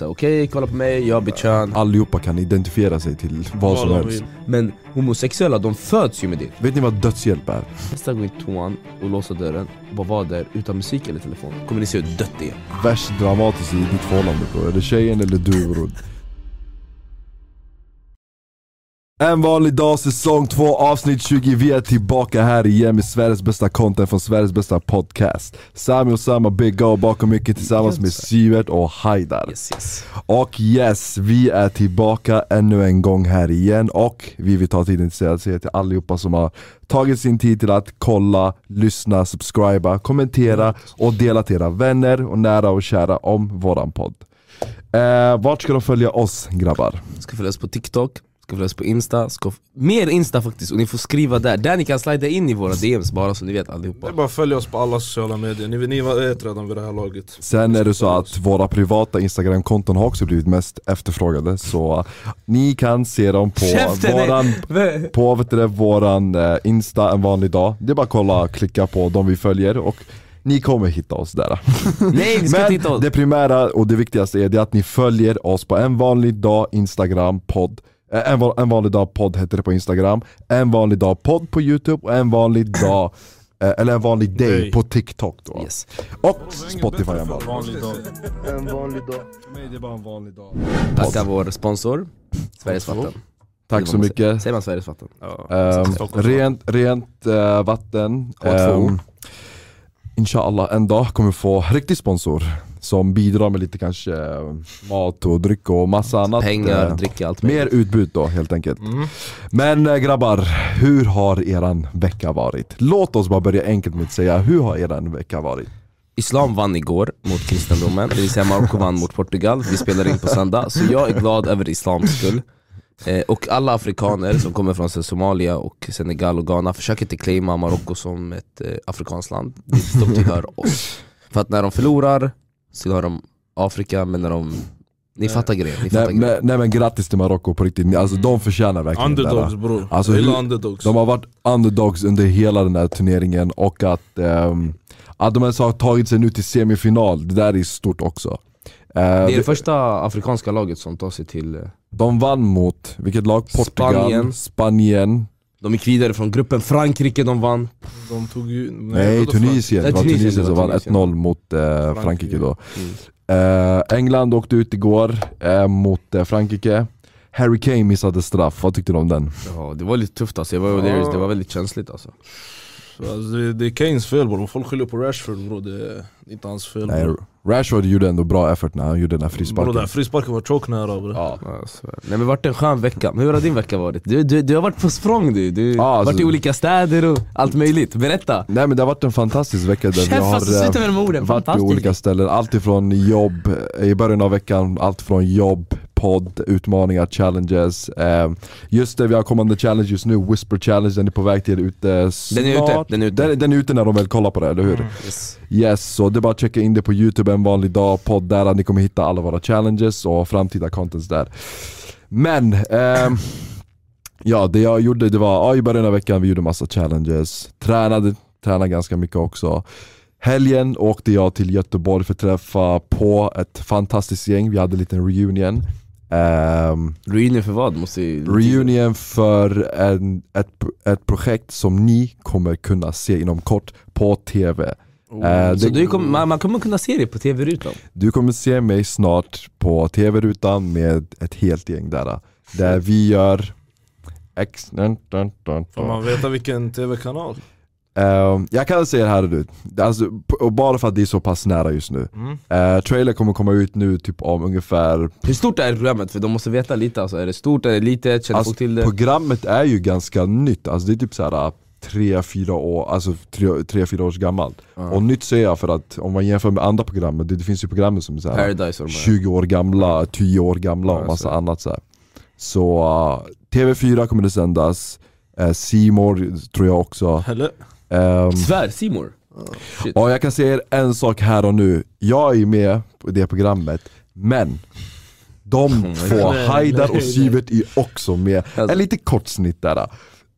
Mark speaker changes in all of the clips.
Speaker 1: Så, Okej, kolla på mig, jag har bytt kön
Speaker 2: Allihopa kan identifiera sig till vad som helst
Speaker 1: Men homosexuella, de föds ju med det
Speaker 2: Vet ni vad dödshjälp är?
Speaker 1: Nästa gång i toan och låsa dörren, bara vara där utan musik eller telefon Kommer ni se hur dött det är?
Speaker 2: Värst dramatiskt i ditt förhållande bror, är det tjejen eller du bror? En vanlig dag, säsong 2, avsnitt 20. Vi är tillbaka här igen med Sveriges bästa content från Sveriges bästa podcast. Sami och Sama Big Go bakom mycket tillsammans med Sivert och Haidar.
Speaker 1: Yes, yes.
Speaker 2: Och yes, vi är tillbaka ännu en gång här igen och vi vill ta tiden till att säga till allihopa som har tagit sin tid till att kolla, lyssna, subscriba, kommentera och dela till era vänner och nära och kära om våran podd. Eh, vart ska de följa oss grabbar?
Speaker 1: Ska följa oss på TikTok, ska följa oss på Insta, ska f- mer Insta faktiskt och ni får skriva där, där ni kan slida in i våra DMs bara så ni vet
Speaker 3: Det är
Speaker 1: allihopa
Speaker 3: bara att följa oss på alla sociala medier, ni, ni vet redan vid det här laget
Speaker 2: Sen är det så att våra privata instagramkonton har också blivit mest efterfrågade så ni kan se dem på
Speaker 1: Käften, nej.
Speaker 2: våran på vet du, det, våran eh, Insta en vanlig dag. Det är bara att kolla, klicka på de vi följer och ni kommer hitta oss där.
Speaker 1: Nej ni ska
Speaker 2: Men
Speaker 1: titta oss!
Speaker 2: det primära och det viktigaste är det att ni följer oss på en vanlig dag Instagram podd. Eh, En, va- en vanlig dag podd heter det på Instagram, en vanlig dag podd på YouTube och en vanlig dag eh, eller en vanlig day
Speaker 3: Day.
Speaker 2: på TikTok då.
Speaker 1: Yes.
Speaker 2: Och Spotify en vanlig.
Speaker 3: Vanlig dag
Speaker 2: En vanlig dag. För mig det är bara en vanlig dag.
Speaker 1: Tacka vår sponsor, Sveriges vatten
Speaker 2: Tack så mycket.
Speaker 1: Säger man Sveriges vatten?
Speaker 2: Ehm,
Speaker 3: Stockholm.
Speaker 2: rent rent eh, vatten.
Speaker 1: Kvar två
Speaker 2: Ehm,
Speaker 1: ord.
Speaker 2: Inshallah en dag kommer vi få riktig sponsor som bidrar med lite kanske eh, mat och dryck och massa annat.
Speaker 1: Pengar,
Speaker 2: eh,
Speaker 1: dricka, allt
Speaker 2: mer utbud då helt enkelt. Men eh, grabbar, hur har eran vecka varit? Låt oss bara börja enkelt med att säga, hur har eran vecka varit?
Speaker 1: Islam vann igår mot kristendomen, det vill säga Marocko vann mot Portugal, vi spelar in på söndag, så jag är glad över islams skull. Eh, och alla afrikaner som kommer från så, Somalia, och Senegal och Ghana försöker inte claima Marocko som ett eh, afrikanskt land, de tillhör oss. För att när de förlorar så tillhör de Afrika, men när de... Ni fattar grejen, ni fattar
Speaker 2: Nej,
Speaker 1: grejen.
Speaker 2: men, nej men grattis till Marocko på riktigt, Ni- alltså de förtjänar verkligen det. här.
Speaker 3: Underdogs bror,
Speaker 2: Alltså,
Speaker 3: jag
Speaker 2: hur-
Speaker 3: gillar underdogs
Speaker 2: De har varit underdogs under hela den här turneringen och att, ehm, att de ens har tagit sig nu till semifinal, det där är stort också. Eh,
Speaker 1: Det är det
Speaker 2: vi-
Speaker 1: första afrikanska laget som tar sig till... eh,
Speaker 2: de vann mot, vilket lag? Portugal,
Speaker 1: Spanien.
Speaker 2: Spanien, Spanien.
Speaker 1: De gick vidare från gruppen, Frankrike de vann.
Speaker 3: De tog ju... Nej,
Speaker 2: nej
Speaker 3: vadå
Speaker 2: Tunisien, det
Speaker 1: Nej,
Speaker 2: var
Speaker 1: Tunisien,
Speaker 2: Tunisien
Speaker 1: det
Speaker 2: som
Speaker 1: var
Speaker 2: vann
Speaker 1: Tunisien.
Speaker 2: 1-0 mot eh, Frankrike. då.
Speaker 3: Mm.
Speaker 2: Eh, England åkte ut igår eh, mot eh, Frankrike, Harry Kane missade straff, vad tyckte du om den?
Speaker 1: Ja, det var lite tufft alltså, jag var, ja. det var väldigt känsligt alltså.
Speaker 3: Frankrike? Alltså, det, det är Kanes fel bror, folk skyller på Rashford bror, det är inte hans fel
Speaker 2: Nej,
Speaker 3: bror
Speaker 2: Rashford gjorde ändå bra effort när han gjorde den här
Speaker 3: Bror den
Speaker 2: frisparken.
Speaker 3: här frisparken var choke nära bror
Speaker 2: Ja.
Speaker 1: Ja, så är det. Nej men det vart en skön vecka, Men hur har din vecka varit? Du, du, du har varit på språng du, du
Speaker 2: Ja,
Speaker 1: har varit
Speaker 2: alltså-
Speaker 1: i olika städer och allt möjligt, berätta!
Speaker 2: Nej men det har varit en fantastisk vecka där vi
Speaker 1: Käft,
Speaker 2: har
Speaker 1: alltså,
Speaker 2: eh,
Speaker 1: sluta med de orden,
Speaker 2: varit på
Speaker 1: fantastiskt!
Speaker 2: olika ställen, allt ifrån jobb, eh, i början av veckan, allt från jobb, podd, utmaningar, challenges. Eh, just det, vi har kommande challenge just nu, Whisper Challenge, den är på väg till ute snart.
Speaker 1: Den är ute, den är ute.
Speaker 2: Den, den är ute när de väl kollar på det, eller hur?
Speaker 1: Yes.
Speaker 2: Yes, så det är bara att checka in det på youtube en vanlig dag, podd där, ni kommer hitta alla våra challenges och framtida contents där. Men, ehm, ja det jag gjorde det var, ja, i början av veckan vi gjorde massa challenges, tränade, tränade ganska mycket också. Helgen åkte jag till Göteborg för att träffa på ett fantastiskt gäng, vi hade en liten reunion. Ehm,
Speaker 1: Reunion för vad? Måste ju...
Speaker 2: Reunion för en, ett, ett projekt som ni kommer kunna se inom kort på TV. Eh,
Speaker 1: Så
Speaker 2: det-
Speaker 1: du kom, man, man kommer kunna se det på tv-rutan?
Speaker 2: du kommer se mig snart på TV-rutan med ett helt gäng där. Där vi gör... Ex... dun, dun, dun,
Speaker 3: Får
Speaker 2: dun.
Speaker 3: man veta vilken tv-kanal?
Speaker 2: Ehm, jag kan säga det här nu, alltså, p- och bara för att det är så pass nära just nu. Eh, trailer kommer komma ut nu typ om ungefär...
Speaker 1: Hur stort är programmet? För de måste veta lite alltså, är det stort, är det litet, känner
Speaker 2: Alltså,
Speaker 1: folk till det?
Speaker 2: programmet är ju ganska nytt, alltså, det är typ så här 3-4 år, alltså, tre- tre, fyra års gammalt. Och nytt säger jag för att om man jämför med andra program, det, det finns ju program som är så här,
Speaker 1: Paradise och de här.
Speaker 2: 20 år gamla, 10 år gamla och
Speaker 1: Ja,
Speaker 2: massa
Speaker 1: så.
Speaker 2: annat så här. Så uh, TV4 kommer det sändas, uh, C More tror jag också.
Speaker 3: Eller?
Speaker 2: Ehm,
Speaker 1: Svär, Simor. Shit.
Speaker 2: och jag kan säga er en sak här och nu, jag är med på det programmet, men de två,
Speaker 3: Nej,
Speaker 2: Haidar
Speaker 3: nej,
Speaker 2: och
Speaker 3: nej.
Speaker 2: Sivert är också med.
Speaker 1: Alltså.
Speaker 2: En lite kort snitt där. uh.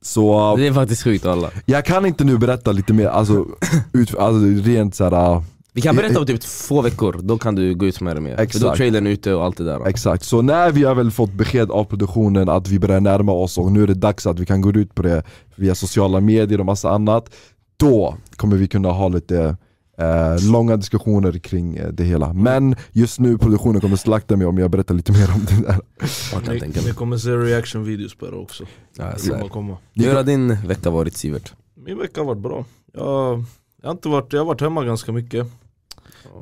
Speaker 2: Så uh,
Speaker 1: Det är faktiskt sjukt alla.
Speaker 2: jag kan inte nu berätta lite mer, alltså, ut, alltså rent såhär
Speaker 1: Vi kan berätta om typ två veckor, då kan du gå ut med det mer. För då är
Speaker 2: Exakt.
Speaker 1: trailern ute och allt det där.
Speaker 2: Exakt, så när vi har väl fått besked av produktionen att vi börjar närma oss och nu är det dags att vi kan gå ut på det via sociala medier och massa annat, då kommer vi kunna ha lite eh, långa diskussioner kring eh, det hela. Men just nu produktionen kommer slakta mig om jag berättar lite mer om det där.
Speaker 1: Jag kan
Speaker 3: Ni,
Speaker 1: tänka
Speaker 3: ni
Speaker 1: mig.
Speaker 3: kommer se reaction videos på det också.
Speaker 1: Ja,
Speaker 3: Det
Speaker 1: så är
Speaker 3: kommer
Speaker 1: det.
Speaker 3: komma.
Speaker 1: Hur har din vecka varit Sivert?
Speaker 3: Min vecka har varit bra. Jag, jag, har inte varit, jag har varit hemma ganska mycket.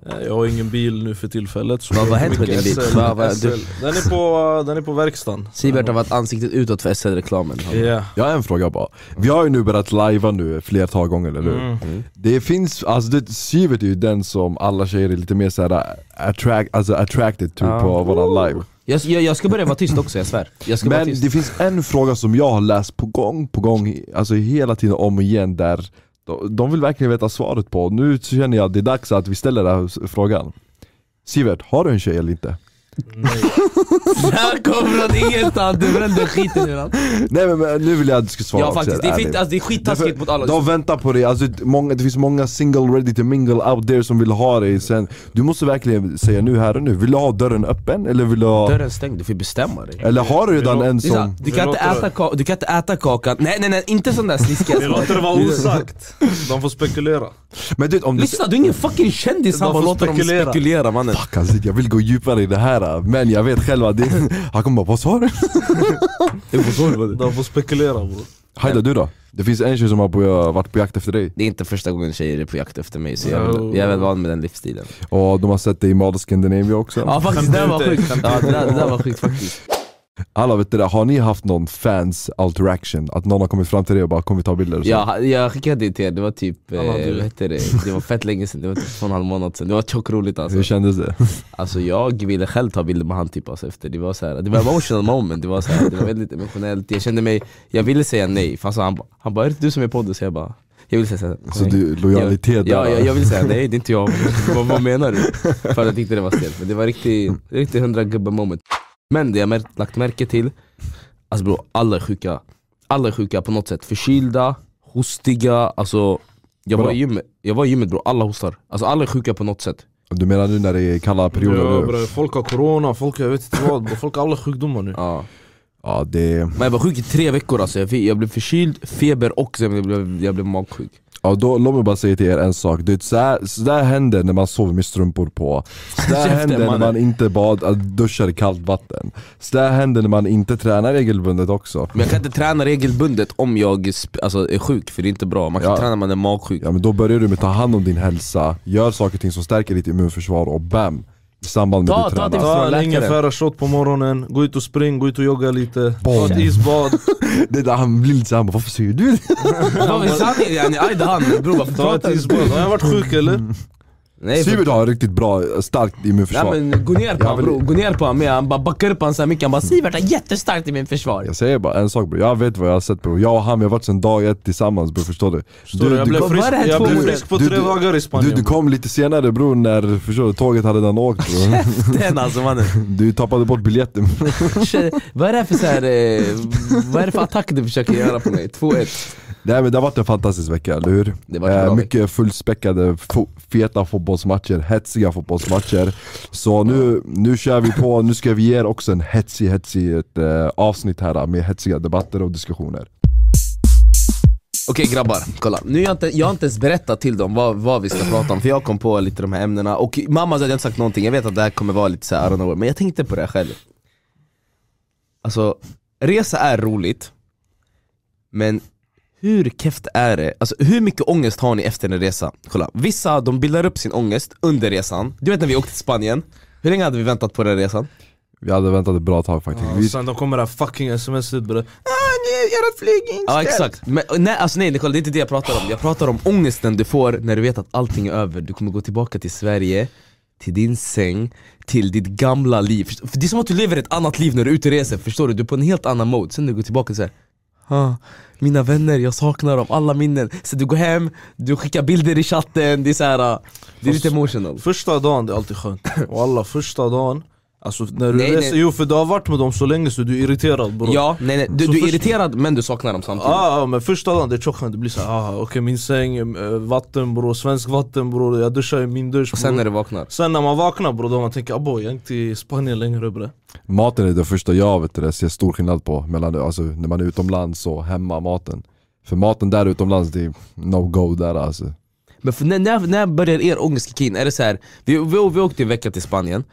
Speaker 3: Eh, Jag har ingen bil nu för tillfället. Så
Speaker 1: Vad-
Speaker 3: det är
Speaker 1: vad har hänt med
Speaker 3: mycket
Speaker 1: din bil?
Speaker 3: SL,
Speaker 1: Vad- vad- du-
Speaker 3: SL. Den, är på, den är på verkstaden.
Speaker 1: Sivert har varit ansiktet utåt för SL-reklamen.
Speaker 3: Ja.
Speaker 2: Jag har en fråga bara. Vi har ju nu börjat lajva nu flertal gånger, eller hur?
Speaker 3: Mm.
Speaker 2: Det finns, alltså det, Sivert är ju den som alla tjejer är lite mer såhär attract, alltså attracted to
Speaker 1: Ah.
Speaker 2: på våra live.
Speaker 1: Jag, jag, jag ska börja vara tyst också, jag svär. Jag ska vara
Speaker 2: Men
Speaker 1: tyst.
Speaker 2: det finns en fråga som jag har läst på gång på gång, i- alltså hela tiden om och igen där de- de vill verkligen veta svaret på. Nu så känner jag att det är dags att vi ställer den här s- frågan. Sivert, har du en tjej eller inte?
Speaker 3: Nej.
Speaker 1: Det här kom från ingenstans, du brände skiten ur allt.
Speaker 2: Nej men, men nu vill jag att du ska svara
Speaker 1: Ja
Speaker 2: också,
Speaker 1: faktiskt, det är,
Speaker 2: ärligt.
Speaker 1: fint, alltså, det är skittaskigt
Speaker 2: Därför-
Speaker 1: mot alla.
Speaker 2: De väntar på dig, alltså, det- många, det finns många single ready to mingle out there som vill ha dig sen Du måste verkligen säga nu här och nu, vill du ha dörren öppen eller vill du ha...
Speaker 1: Dörren stängd, du får bestämma dig.
Speaker 2: Eller har du redan
Speaker 3: Vill du-
Speaker 2: en
Speaker 1: Det är så här,
Speaker 2: som...
Speaker 1: du, kan inte
Speaker 3: Vi låter
Speaker 1: äta ka- du kan inte äta kakan, nej nej nej inte sån där sliskiga
Speaker 3: Vi låter det vara osagt. De får spekulera.
Speaker 2: Men du vet om du...
Speaker 1: Lyssna, du är ingen fucking kändis, han
Speaker 3: De
Speaker 1: bara
Speaker 3: får
Speaker 1: låter dem
Speaker 3: spekulera.
Speaker 1: spekulera mannen.
Speaker 2: Fuck alltså, jag vill gå djupare i det här äh. men jag vet själv att det... Han kommer bara 'Vad sa du?'
Speaker 3: De får spekulera bror.
Speaker 2: Haida du då? Det finns en tjej som har på, varit på jakt efter dig
Speaker 1: Det är inte första gången tjejer är på jakt efter mig så jag är väl, jag är väl van med den livsstilen.
Speaker 2: och de har sett dig i Mall of Scandinavia också
Speaker 1: Ja faktiskt, det där var
Speaker 3: Skämtar du
Speaker 1: sjukt. Ja, det, där, det där var sjukt faktiskt.
Speaker 2: Alla vet det där, har ni haft någon fans interaction? Att någon har kommit fram till dig och bara 'Kommer vi ta bilder?' och så?
Speaker 1: Jag, jag skickade det till er, det var typ, eh,
Speaker 3: Alla du.
Speaker 1: vad heter det? Det var fett länge sedan, det var typ två och en halv månad sedan. Det var tjockt roligt alltså.
Speaker 2: Hur kändes det?
Speaker 1: Alltså jag ville själv ta bilder med han typ alltså efter, det var så här, det var emotional moment, det var, så här, det var väldigt emotionellt Jag kände mig, jag ville säga nej, för alltså, han bara han bara 'Är det du som är podden?' Så jag bara, jag vill säga såhär
Speaker 2: Så du, lojalitet
Speaker 1: ja,
Speaker 2: där
Speaker 1: ja, jag vill säga nej, det är inte jag, vad, vad menar du? För att jag tyckte det var stelt, men det var riktigt, riktigt hundra gubbar moment Men det jag mär, lagt märke till, alltså bro, alla är sjuka Alla är sjuka på något sätt, förkylda, hostiga, alltså jag var,
Speaker 2: Bra.
Speaker 1: i gymmet, jag var i gymmet bro, alla hostar, alltså alla är sjuka på något sätt
Speaker 2: äh. Du menar nu när det är kalla perioder
Speaker 3: Ja,
Speaker 2: nu?
Speaker 3: bror, folk har corona, folk jag vet inte vad. bror. Folk har alla sjukdomar nu.
Speaker 1: ja.
Speaker 2: Ja det...
Speaker 1: Men jag var sjuk i tre veckor alltså, jag, fick, jag blev förkyld, feber och sen jag blev jag blev magsjuk
Speaker 2: Ja, då, låt mig bara säga till er en sak, det, så, här, så där händer när man sover med strumpor på Så där
Speaker 1: Käften,
Speaker 2: händer när
Speaker 1: mannen.
Speaker 2: man inte bad, att duschar i kallt vatten Så där händer när man inte tränar regelbundet också
Speaker 1: Men jag kan inte träna regelbundet om jag sp- alltså, är sjuk, för det är inte bra, man kan
Speaker 2: Ja.
Speaker 1: inte träna när man är magsjuk
Speaker 2: Ja men då börjar du med att ta hand om din hälsa, gör saker och ting som stärker ditt immunförsvar och BAM! I samband med
Speaker 1: Ta-
Speaker 2: att du
Speaker 1: ta
Speaker 2: tränar
Speaker 1: till-
Speaker 3: Ta
Speaker 1: från
Speaker 3: en
Speaker 1: läkaren.
Speaker 3: ingefära shot på morgonen, gå ut och spring, gå ut och jogga lite, ta
Speaker 2: Boom.
Speaker 3: ett isbad,
Speaker 2: det där, Han blir lite såhär, han bara, varför säger du det?
Speaker 1: Vad är sanningen yani? Ajde han bror varför
Speaker 3: ta
Speaker 1: pratar
Speaker 3: ett
Speaker 1: du?
Speaker 3: isbad. Har jag varit sjuk eller?
Speaker 1: Nej, för-
Speaker 2: Sivert har ett riktigt bra, starkt immunförsvar
Speaker 1: Nej men gå ner på
Speaker 2: Jag
Speaker 1: honom
Speaker 2: vill-
Speaker 1: bror, gå ner på honom med, han bara backar upp honom så här mycket, han bara 'Sivert har jättestarkt i min försvar'
Speaker 2: Jag säger bara en sak bror, jag vet vad jag har sett bror, jag och han vi har varit sedan dag ett tillsammans bror, förstår du?
Speaker 3: Förstår du? Jag blev
Speaker 2: kom-
Speaker 1: vad
Speaker 3: frisk,
Speaker 1: var det här
Speaker 3: jag
Speaker 1: två
Speaker 3: blev
Speaker 1: månader?
Speaker 3: frisk på
Speaker 2: Du-
Speaker 3: tre
Speaker 2: du-
Speaker 3: dagar i
Speaker 2: Du,
Speaker 3: Spanien.
Speaker 2: du kom lite senare bror när förstår du, tåget hade redan åkt bror.
Speaker 1: Den alltså mannen
Speaker 2: Du tappade bort biljetten
Speaker 1: Tjej, Vad är det här för så här, eh, vad är det för attack du försöker göra på mig? 2-1
Speaker 2: Nej men det har varit en fantastisk vecka, eller hur? Eh,
Speaker 1: Det har varit en bra
Speaker 2: mycket fullspäckade, fo- feta fotbollsmatcher, hetsiga fotbollsmatcher Så nu, nu kör vi på, nu ska vi ge er också en hetsig, hetsig ett, eh, avsnitt här med hetsiga debatter och diskussioner
Speaker 1: Okej grabbar, kolla. Nu har jag, inte, jag har inte ens berättat till dem vad, vad vi ska prata om, för jag kom på lite de här ämnena och mamma sa att jag inte sagt någonting, jag vet att det här kommer vara lite såhär I don't know, men jag tänkte på det här själv Alltså, resa är roligt, men hur keft är det? Alltså hur mycket ångest har ni efter en resa? Kolla, vissa de bildar upp sin ångest under resan, du vet när vi åkte till Spanien, hur länge hade vi väntat på den resan?
Speaker 2: Vi hade väntat ett bra tag faktiskt
Speaker 3: Ja,
Speaker 2: vi,
Speaker 3: sen då kommer det här fucking smset bre.
Speaker 1: Ja exakt, men nej, alltså nej Nicole, det är inte det jag pratar om. Jag pratar om ångesten du får när du vet att allting är över. Du kommer gå tillbaka till Sverige, till din säng, till ditt gamla liv. Förstå- För det är som att du lever ett annat liv när du är ute och reser, förstår du? Du är på en helt annan mode. Sen när du går tillbaka så här, ah, mina vänner, jag saknar dem, alla minnen. Så du går hem, du skickar bilder i chatten, äh, det är så här, ah, det är lite emotional.
Speaker 3: Första dagen det är alltid skönt. Och alla första dagen, Alltså när du
Speaker 1: Nej,
Speaker 3: reser,
Speaker 1: nej.
Speaker 3: jo för du har varit med dem så länge så du är irriterad bror
Speaker 1: Ja, nej, nej. Du,
Speaker 3: Så
Speaker 1: du är
Speaker 3: först-
Speaker 1: irriterad men du saknar dem samtidigt.
Speaker 3: Ah, ah, men första dagen det är chockan, det blir såhär ah, okej min säng, eh, vatten bror, svensk vatten bror, jag duschar i min dusch
Speaker 1: Och sen
Speaker 3: bror.
Speaker 1: när du vaknar.
Speaker 3: Sen när man vaknar bror, då man tänker abow jag är inte i Spanien längre bre
Speaker 2: Maten är det första jag vet det, ser stor skillnad på mellan alltså, när man är utomlands och hemma maten. För maten där utomlands, det är no go där alltså.
Speaker 1: Men för när, när, när börjar er ångest kicka in? Är det så här, vi, vi, vi åkte ju en vecka till Spanien,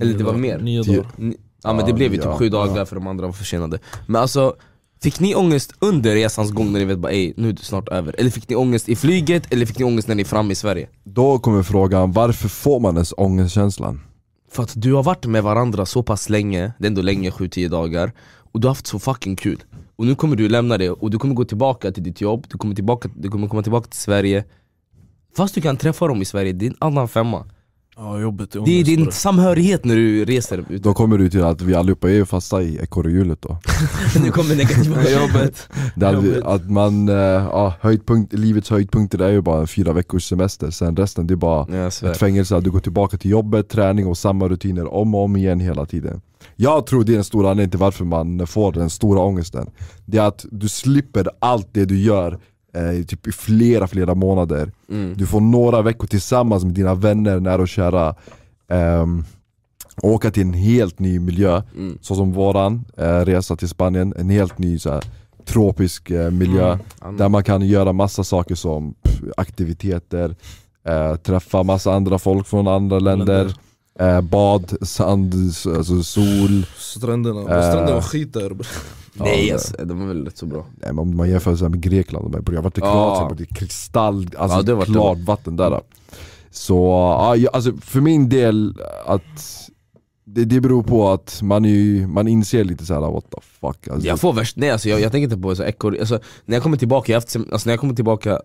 Speaker 1: eller det var mer.
Speaker 3: Nio
Speaker 2: Tio-
Speaker 3: dagar
Speaker 1: Ni- Ja men det
Speaker 2: Ja,
Speaker 1: blev ju
Speaker 2: ja,
Speaker 1: typ sju dagar
Speaker 2: ja.
Speaker 1: för de andra var försenade. Men alltså, fick ni ångest under resans gång när ni vet bara ey, nu är det snart över? Eller fick ni ångest i flyget, eller fick ni ångest när ni är framme i Sverige?
Speaker 2: Då kommer frågan, varför får man ens ångestkänslan?
Speaker 1: För att du har varit med varandra så pass länge, det är ändå länge, 7-10 dagar Och du har haft så fucking kul Och nu kommer du lämna det och du kommer gå tillbaka till ditt jobb, du kommer, tillbaka, du kommer komma tillbaka till Sverige Fast du kan träffa dem i Sverige, det är en annan femma
Speaker 3: Ja jobbet är
Speaker 1: Det är
Speaker 3: ångest
Speaker 1: din
Speaker 3: din...
Speaker 1: samhörighet när du reser ut
Speaker 2: Då kommer du till att vi allihopa är fasta i ekorrhjulet då.
Speaker 1: Nu kommer negativa jobbet
Speaker 2: Det hade, vi-
Speaker 3: Jobbigt.
Speaker 2: att man, eh, ja, höjdpunkt, livets höjdpunkter är ju bara fyra veckors semester, sen resten det är bara
Speaker 1: Jag svär.
Speaker 2: ett fängelse, att du går tillbaka till jobbet, träning och samma rutiner om och om igen hela tiden. Jag tror det är den stora anledningen till varför man får den stora ångesten. Det är att du slipper allt det du gör eh, typ i flera, flera månader. Du får några veckor tillsammans med dina vänner, nära och kära. Ehm, och åka till en helt ny miljö, så som våran eh, resa till Spanien, en helt ny så här, tropisk eh, miljö där man kan göra massa saker som pff, aktiviteter, eh, träffa massa andra folk från andra länder, eh, bad, sand, s- alltså sol.
Speaker 3: Stränderna,
Speaker 2: Äh.
Speaker 1: Eh.
Speaker 3: stränderna var skit där bre
Speaker 1: Nej alltså, de var väl rätt så bra
Speaker 2: Nej, men om man jämför så här med Grekland, och med- jag har varit i
Speaker 1: Ja.
Speaker 2: Kroatien, ah. det är kristall, alltså
Speaker 1: Ja, det har varit det.
Speaker 2: klart vatten där. då. Så ja, jag- alltså, för min del, att det, det beror på att man, är ju, man inser lite så här what the fuck. Alltså,
Speaker 1: Jag får värst, nej alltså jag, jag tänker inte på så ekor, alltså, när jag kommer tillbaka, jag har haft, sem- alltså, när jag kommer tillbaka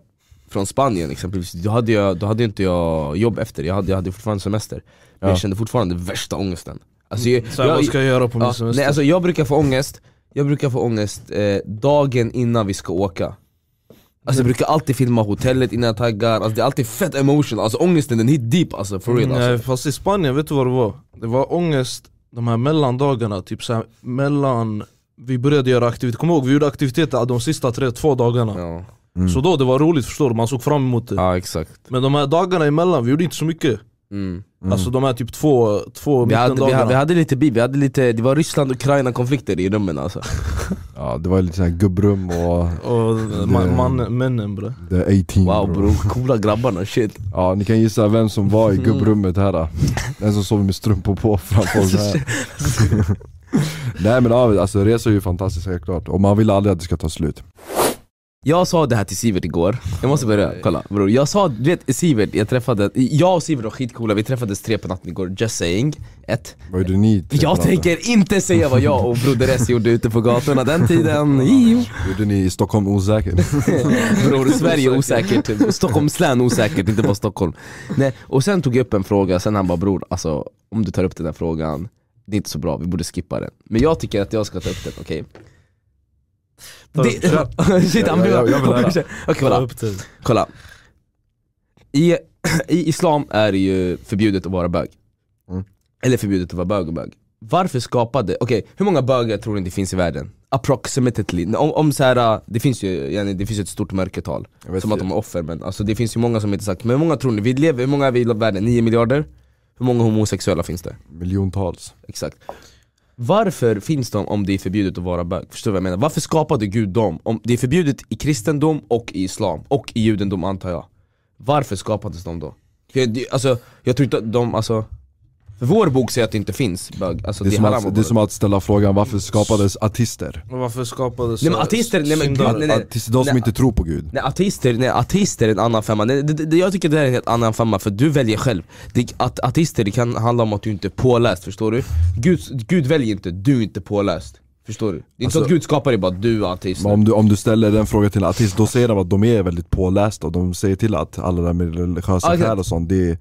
Speaker 1: från Spanien exempelvis, då hade, jag, då hade inte jag jobb efter, jag hade, jag hade fortfarande semester Men jag
Speaker 2: Ja.
Speaker 1: kände fortfarande värsta ångesten alltså, jag,
Speaker 3: Mm. Så här, vad ska jag göra på min
Speaker 1: ja,
Speaker 3: semester?
Speaker 1: nej, alltså, jag brukar få ångest, jag brukar få ångest eh, dagen innan vi ska åka Alltså jag brukar alltid filma hotellet innan jag taggar, alltså, det är alltid fett emotion, alltså ångesten den hit deep alltså for real
Speaker 3: Mm, Nej,
Speaker 1: alltså.
Speaker 3: fast i Spanien, vet du vad det var? Det var ångest de här mellandagarna, typ så här, mellan vi började göra aktiviteter, kom ihåg vi gjorde aktiviteter de sista tre, två dagarna
Speaker 1: Ja.
Speaker 3: Så då det var roligt förstår du, man såg fram emot det
Speaker 1: ja exakt
Speaker 3: Men de här dagarna emellan, vi gjorde inte så mycket
Speaker 1: mm.
Speaker 3: Alltså de här typ två, två
Speaker 1: vi, hade, vi,
Speaker 3: mittendagarna
Speaker 1: hade, vi hade lite bi, vi hade lite, det var Ryssland-Ukraina-konflikter i rummen alltså
Speaker 2: Ja, det var lite så här gubbrum och
Speaker 3: Och ma- man, männen bre
Speaker 2: the 18
Speaker 1: Wow
Speaker 2: bro.
Speaker 1: bror, coola grabbarna shit
Speaker 2: Ja, ni kan gissa vem som var
Speaker 1: Mm.
Speaker 2: i gubbrummet här då. Den som sov med strumpor på framför oss här. Nej men ja, alltså resor är ju fantastiskt helt klart. Och man vill aldrig att det ska ta slut.
Speaker 1: Jag sa det här till Sivert igår, jag måste börja, kolla bror Jag sa, du vet Sivert, jag träffade, jag och Sivert var skitcoola, vi träffades tre på natten igår, just saying Ett,
Speaker 2: Vad gjorde ni? tre på
Speaker 1: jag
Speaker 2: natten?
Speaker 1: tänker inte säga vad jag och broder S gjorde ute på gatorna den tiden Jo.
Speaker 2: Gjorde ni i Stockholm osäker?
Speaker 1: Bror, Sverige är osäkert, Stockholms län är osäkert, inte bara Stockholm Nej, och sen tog jag upp en fråga, sen han bara bror, alltså om du tar upp den här frågan, det är inte så bra, vi borde skippa den Men jag tycker att jag ska ta upp den, okej?
Speaker 3: Ta upp
Speaker 1: Det... Shit, han
Speaker 2: Ja, ja, jag vill höra.
Speaker 1: blir... Okej, kolla
Speaker 3: upp till.
Speaker 1: Kolla. I, I islam är det ju förbjudet att vara bög.
Speaker 2: Mm.
Speaker 1: Eller förbjudet att vara bög och bög. Varför skapade, okej hur många bögar tror ni det finns i världen? Approximately, om, om så här, äh, det finns ju yani, det finns ju ett stort mörkertal,
Speaker 2: Jag vet
Speaker 1: som att
Speaker 2: inte.
Speaker 1: de är offer men alltså, det finns ju många som inte sagt, men hur många tror ni, vi lever, hur många är vi i världen? 9 miljarder? Hur många homosexuella finns det?
Speaker 2: Miljontals.
Speaker 1: Exakt. Varför finns de om det är förbjudet att vara bög? Förstår du vad jag menar? Varför skapade Gud dem? Om det är förbjudet i kristendom och i islam, och i judendom antar jag. Varför skapades de då? För jag, det- alltså, jag tror inte att de, alltså... För vår bok säger att det inte finns bög, alltså
Speaker 2: Det är,
Speaker 1: det, är
Speaker 2: som
Speaker 1: haram att
Speaker 2: att, det är
Speaker 1: vara
Speaker 2: som att ställa frågan varför skapades artister?
Speaker 3: Och Varför skapades
Speaker 1: Nej, men ateister- nej, men-
Speaker 3: syndare?
Speaker 1: nej, nej.
Speaker 2: Artister, de som
Speaker 1: Nej.
Speaker 2: inte tror på gud.
Speaker 1: Nej ateister, nej, ateister är en annan femma, nej, det, det, jag tycker det här är en helt annan femma för du väljer själv det, att, Ateister det kan handla om att du inte är påläst, förstår du? Gud, Gud väljer inte, du är inte påläst Förstår du? Det är inte så att
Speaker 2: Alltså-
Speaker 1: Gud skapar dig bara, du är ateist
Speaker 2: Men om du, om du ställer den frågan till en artist, då säger de att de är väldigt pålästa och de säger till att alla det där med religiösa
Speaker 1: Ja, exakt.
Speaker 2: skäl och sånt, det, är-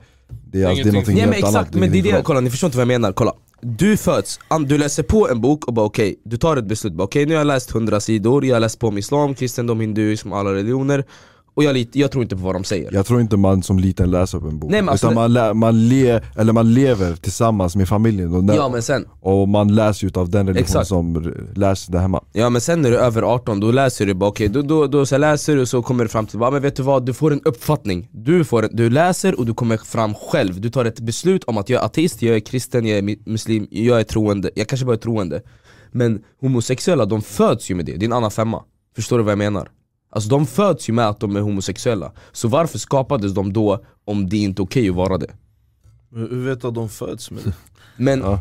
Speaker 2: det, är, alltså, det är
Speaker 3: Ingenting-
Speaker 2: någonting
Speaker 1: Ah, Nej men
Speaker 2: helt annat.
Speaker 1: exakt, men det är
Speaker 2: ingenting för
Speaker 1: det,
Speaker 2: dem.
Speaker 1: kolla ni förstår inte vad jag menar, kolla Du föds, an- du läser på en bok och bara okej, du tar ett beslut, bara okej nu har jag läst 100 sidor, jag har läst på om islam, kristendom, hinduism, alla religioner Och jag, lit- jag tror inte på vad de säger.
Speaker 2: Jag tror inte man som liten läser upp en bok.
Speaker 1: Nej, men alltså
Speaker 2: Utan man, lä- man, le, eller man lever tillsammans med familjen och, den,
Speaker 1: Ja men, sen,
Speaker 2: och man läser utav den religion
Speaker 1: Exakt.
Speaker 2: som r- läses där hemma.
Speaker 1: ja men sen när du är över 18, då läser du bara okej, då, då, då så läser du och så kommer du fram till, bara, men vet du vad, du får en uppfattning du, får, en- du läser och du kommer fram själv, du tar ett beslut om att jag är ateist, jag är kristen, jag är mi- muslim, jag är troende, jag kanske bara är troende Men homosexuella, de föds ju med det, det är en annan femma, förstår du vad jag menar? Alltså de föds ju med att de är homosexuella, så varför skapades de då om det inte är okej att vara det?
Speaker 3: Hur hur vet du att de föds med det?
Speaker 1: Men,
Speaker 2: Ja.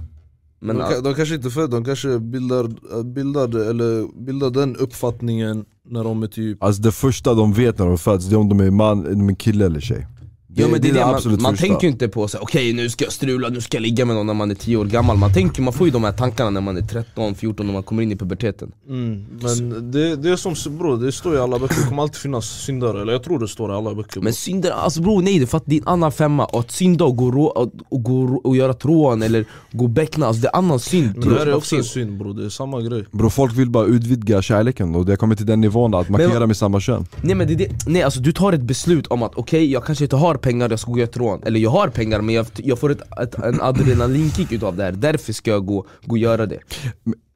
Speaker 1: men
Speaker 3: de, ka- de kanske inte föds, de kanske bildar, bildar, eller bildar den uppfattningen när de är typ
Speaker 2: Alltså det första de vet när de föds, det är om de är man, om de är kille eller tjej.
Speaker 1: Ja men det är det,
Speaker 2: absolut
Speaker 1: man, man
Speaker 2: första.
Speaker 1: tänker ju inte på så här, okej nu ska jag strula, nu ska jag ligga med någon när man är 10 år gammal Man tänker, man får ju de här tankarna när man är 13, 14, när man kommer in i puberteten
Speaker 3: Mm, men det, det är som bror, det står i alla böcker, det kommer alltid finnas syndare, eller jag tror det står i alla böcker
Speaker 1: Men synder, alltså bror nej du fattar, det är en annan femma Och att synda och gå, rå, och- och gå rå- och göra trån eller gå och bäckna, alltså det är annan synd
Speaker 3: men det här är
Speaker 1: bror.
Speaker 3: också en synd bror, det är samma grej
Speaker 2: Bro, folk vill bara utvidga kärleken och det har kommit till den nivån att man
Speaker 1: Men
Speaker 2: kan
Speaker 1: vad-
Speaker 2: göra med samma kön.
Speaker 1: Nej men det, är det, nej alltså du tar ett beslut om att okej jag kanske inte har pengar, jag ska gå och göra ett rån Eller jag har pengar men jag, jag får ett, ett, en adrenalinkick utav det här, därför ska jag gå, gå och göra det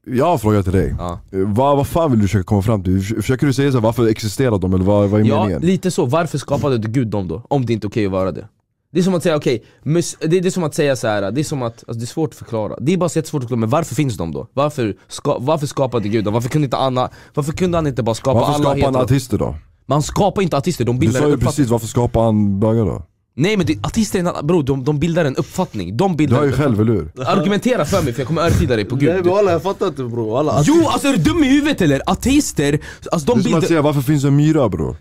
Speaker 2: Jag har en fråga till dig.
Speaker 1: ja.
Speaker 2: Eh, Vad, vad fan vill du försöka komma fram till? Förs- Försöker du säga så här, varför existerar de eller vad, vad är
Speaker 1: Ja,
Speaker 2: meningen?
Speaker 1: lite så. Varför skapade du Gud dem då? Om det inte är okej att vara det. Det är som att säga okej, mus- det, det är som att säga så här. det är som att, alltså det är svårt att förklara. Det är bara så jättesvårt att förklara, men varför finns de då? Varför, ska, varför skapade Gud dem? Varför kunde, inte Anna, varför kunde han inte bara skapa
Speaker 2: Varför
Speaker 1: alla
Speaker 2: skapar han
Speaker 1: hetero?
Speaker 2: artister då?
Speaker 1: Man skapar inte artister, de
Speaker 2: Du
Speaker 1: bildar
Speaker 2: sa
Speaker 1: en
Speaker 2: ju
Speaker 1: uppfattning.
Speaker 2: precis, varför skapar han bögar då?
Speaker 1: Nej men det, artister är en annan, bro, de, de bildar en uppfattning. De
Speaker 2: Du
Speaker 1: bildar
Speaker 2: har ju
Speaker 1: en,
Speaker 2: själv, eller hur?
Speaker 1: Argumentera för mig för jag kommer övertyda dig på
Speaker 3: Nej
Speaker 1: Gud.
Speaker 3: men alla, jag fattar inte bror, alla
Speaker 1: Jo alltså är du dum i huvudet eller? Ateister, alltså de
Speaker 2: Det är som att
Speaker 1: bildar... Mm,
Speaker 2: säga, varför finns det en myra bror?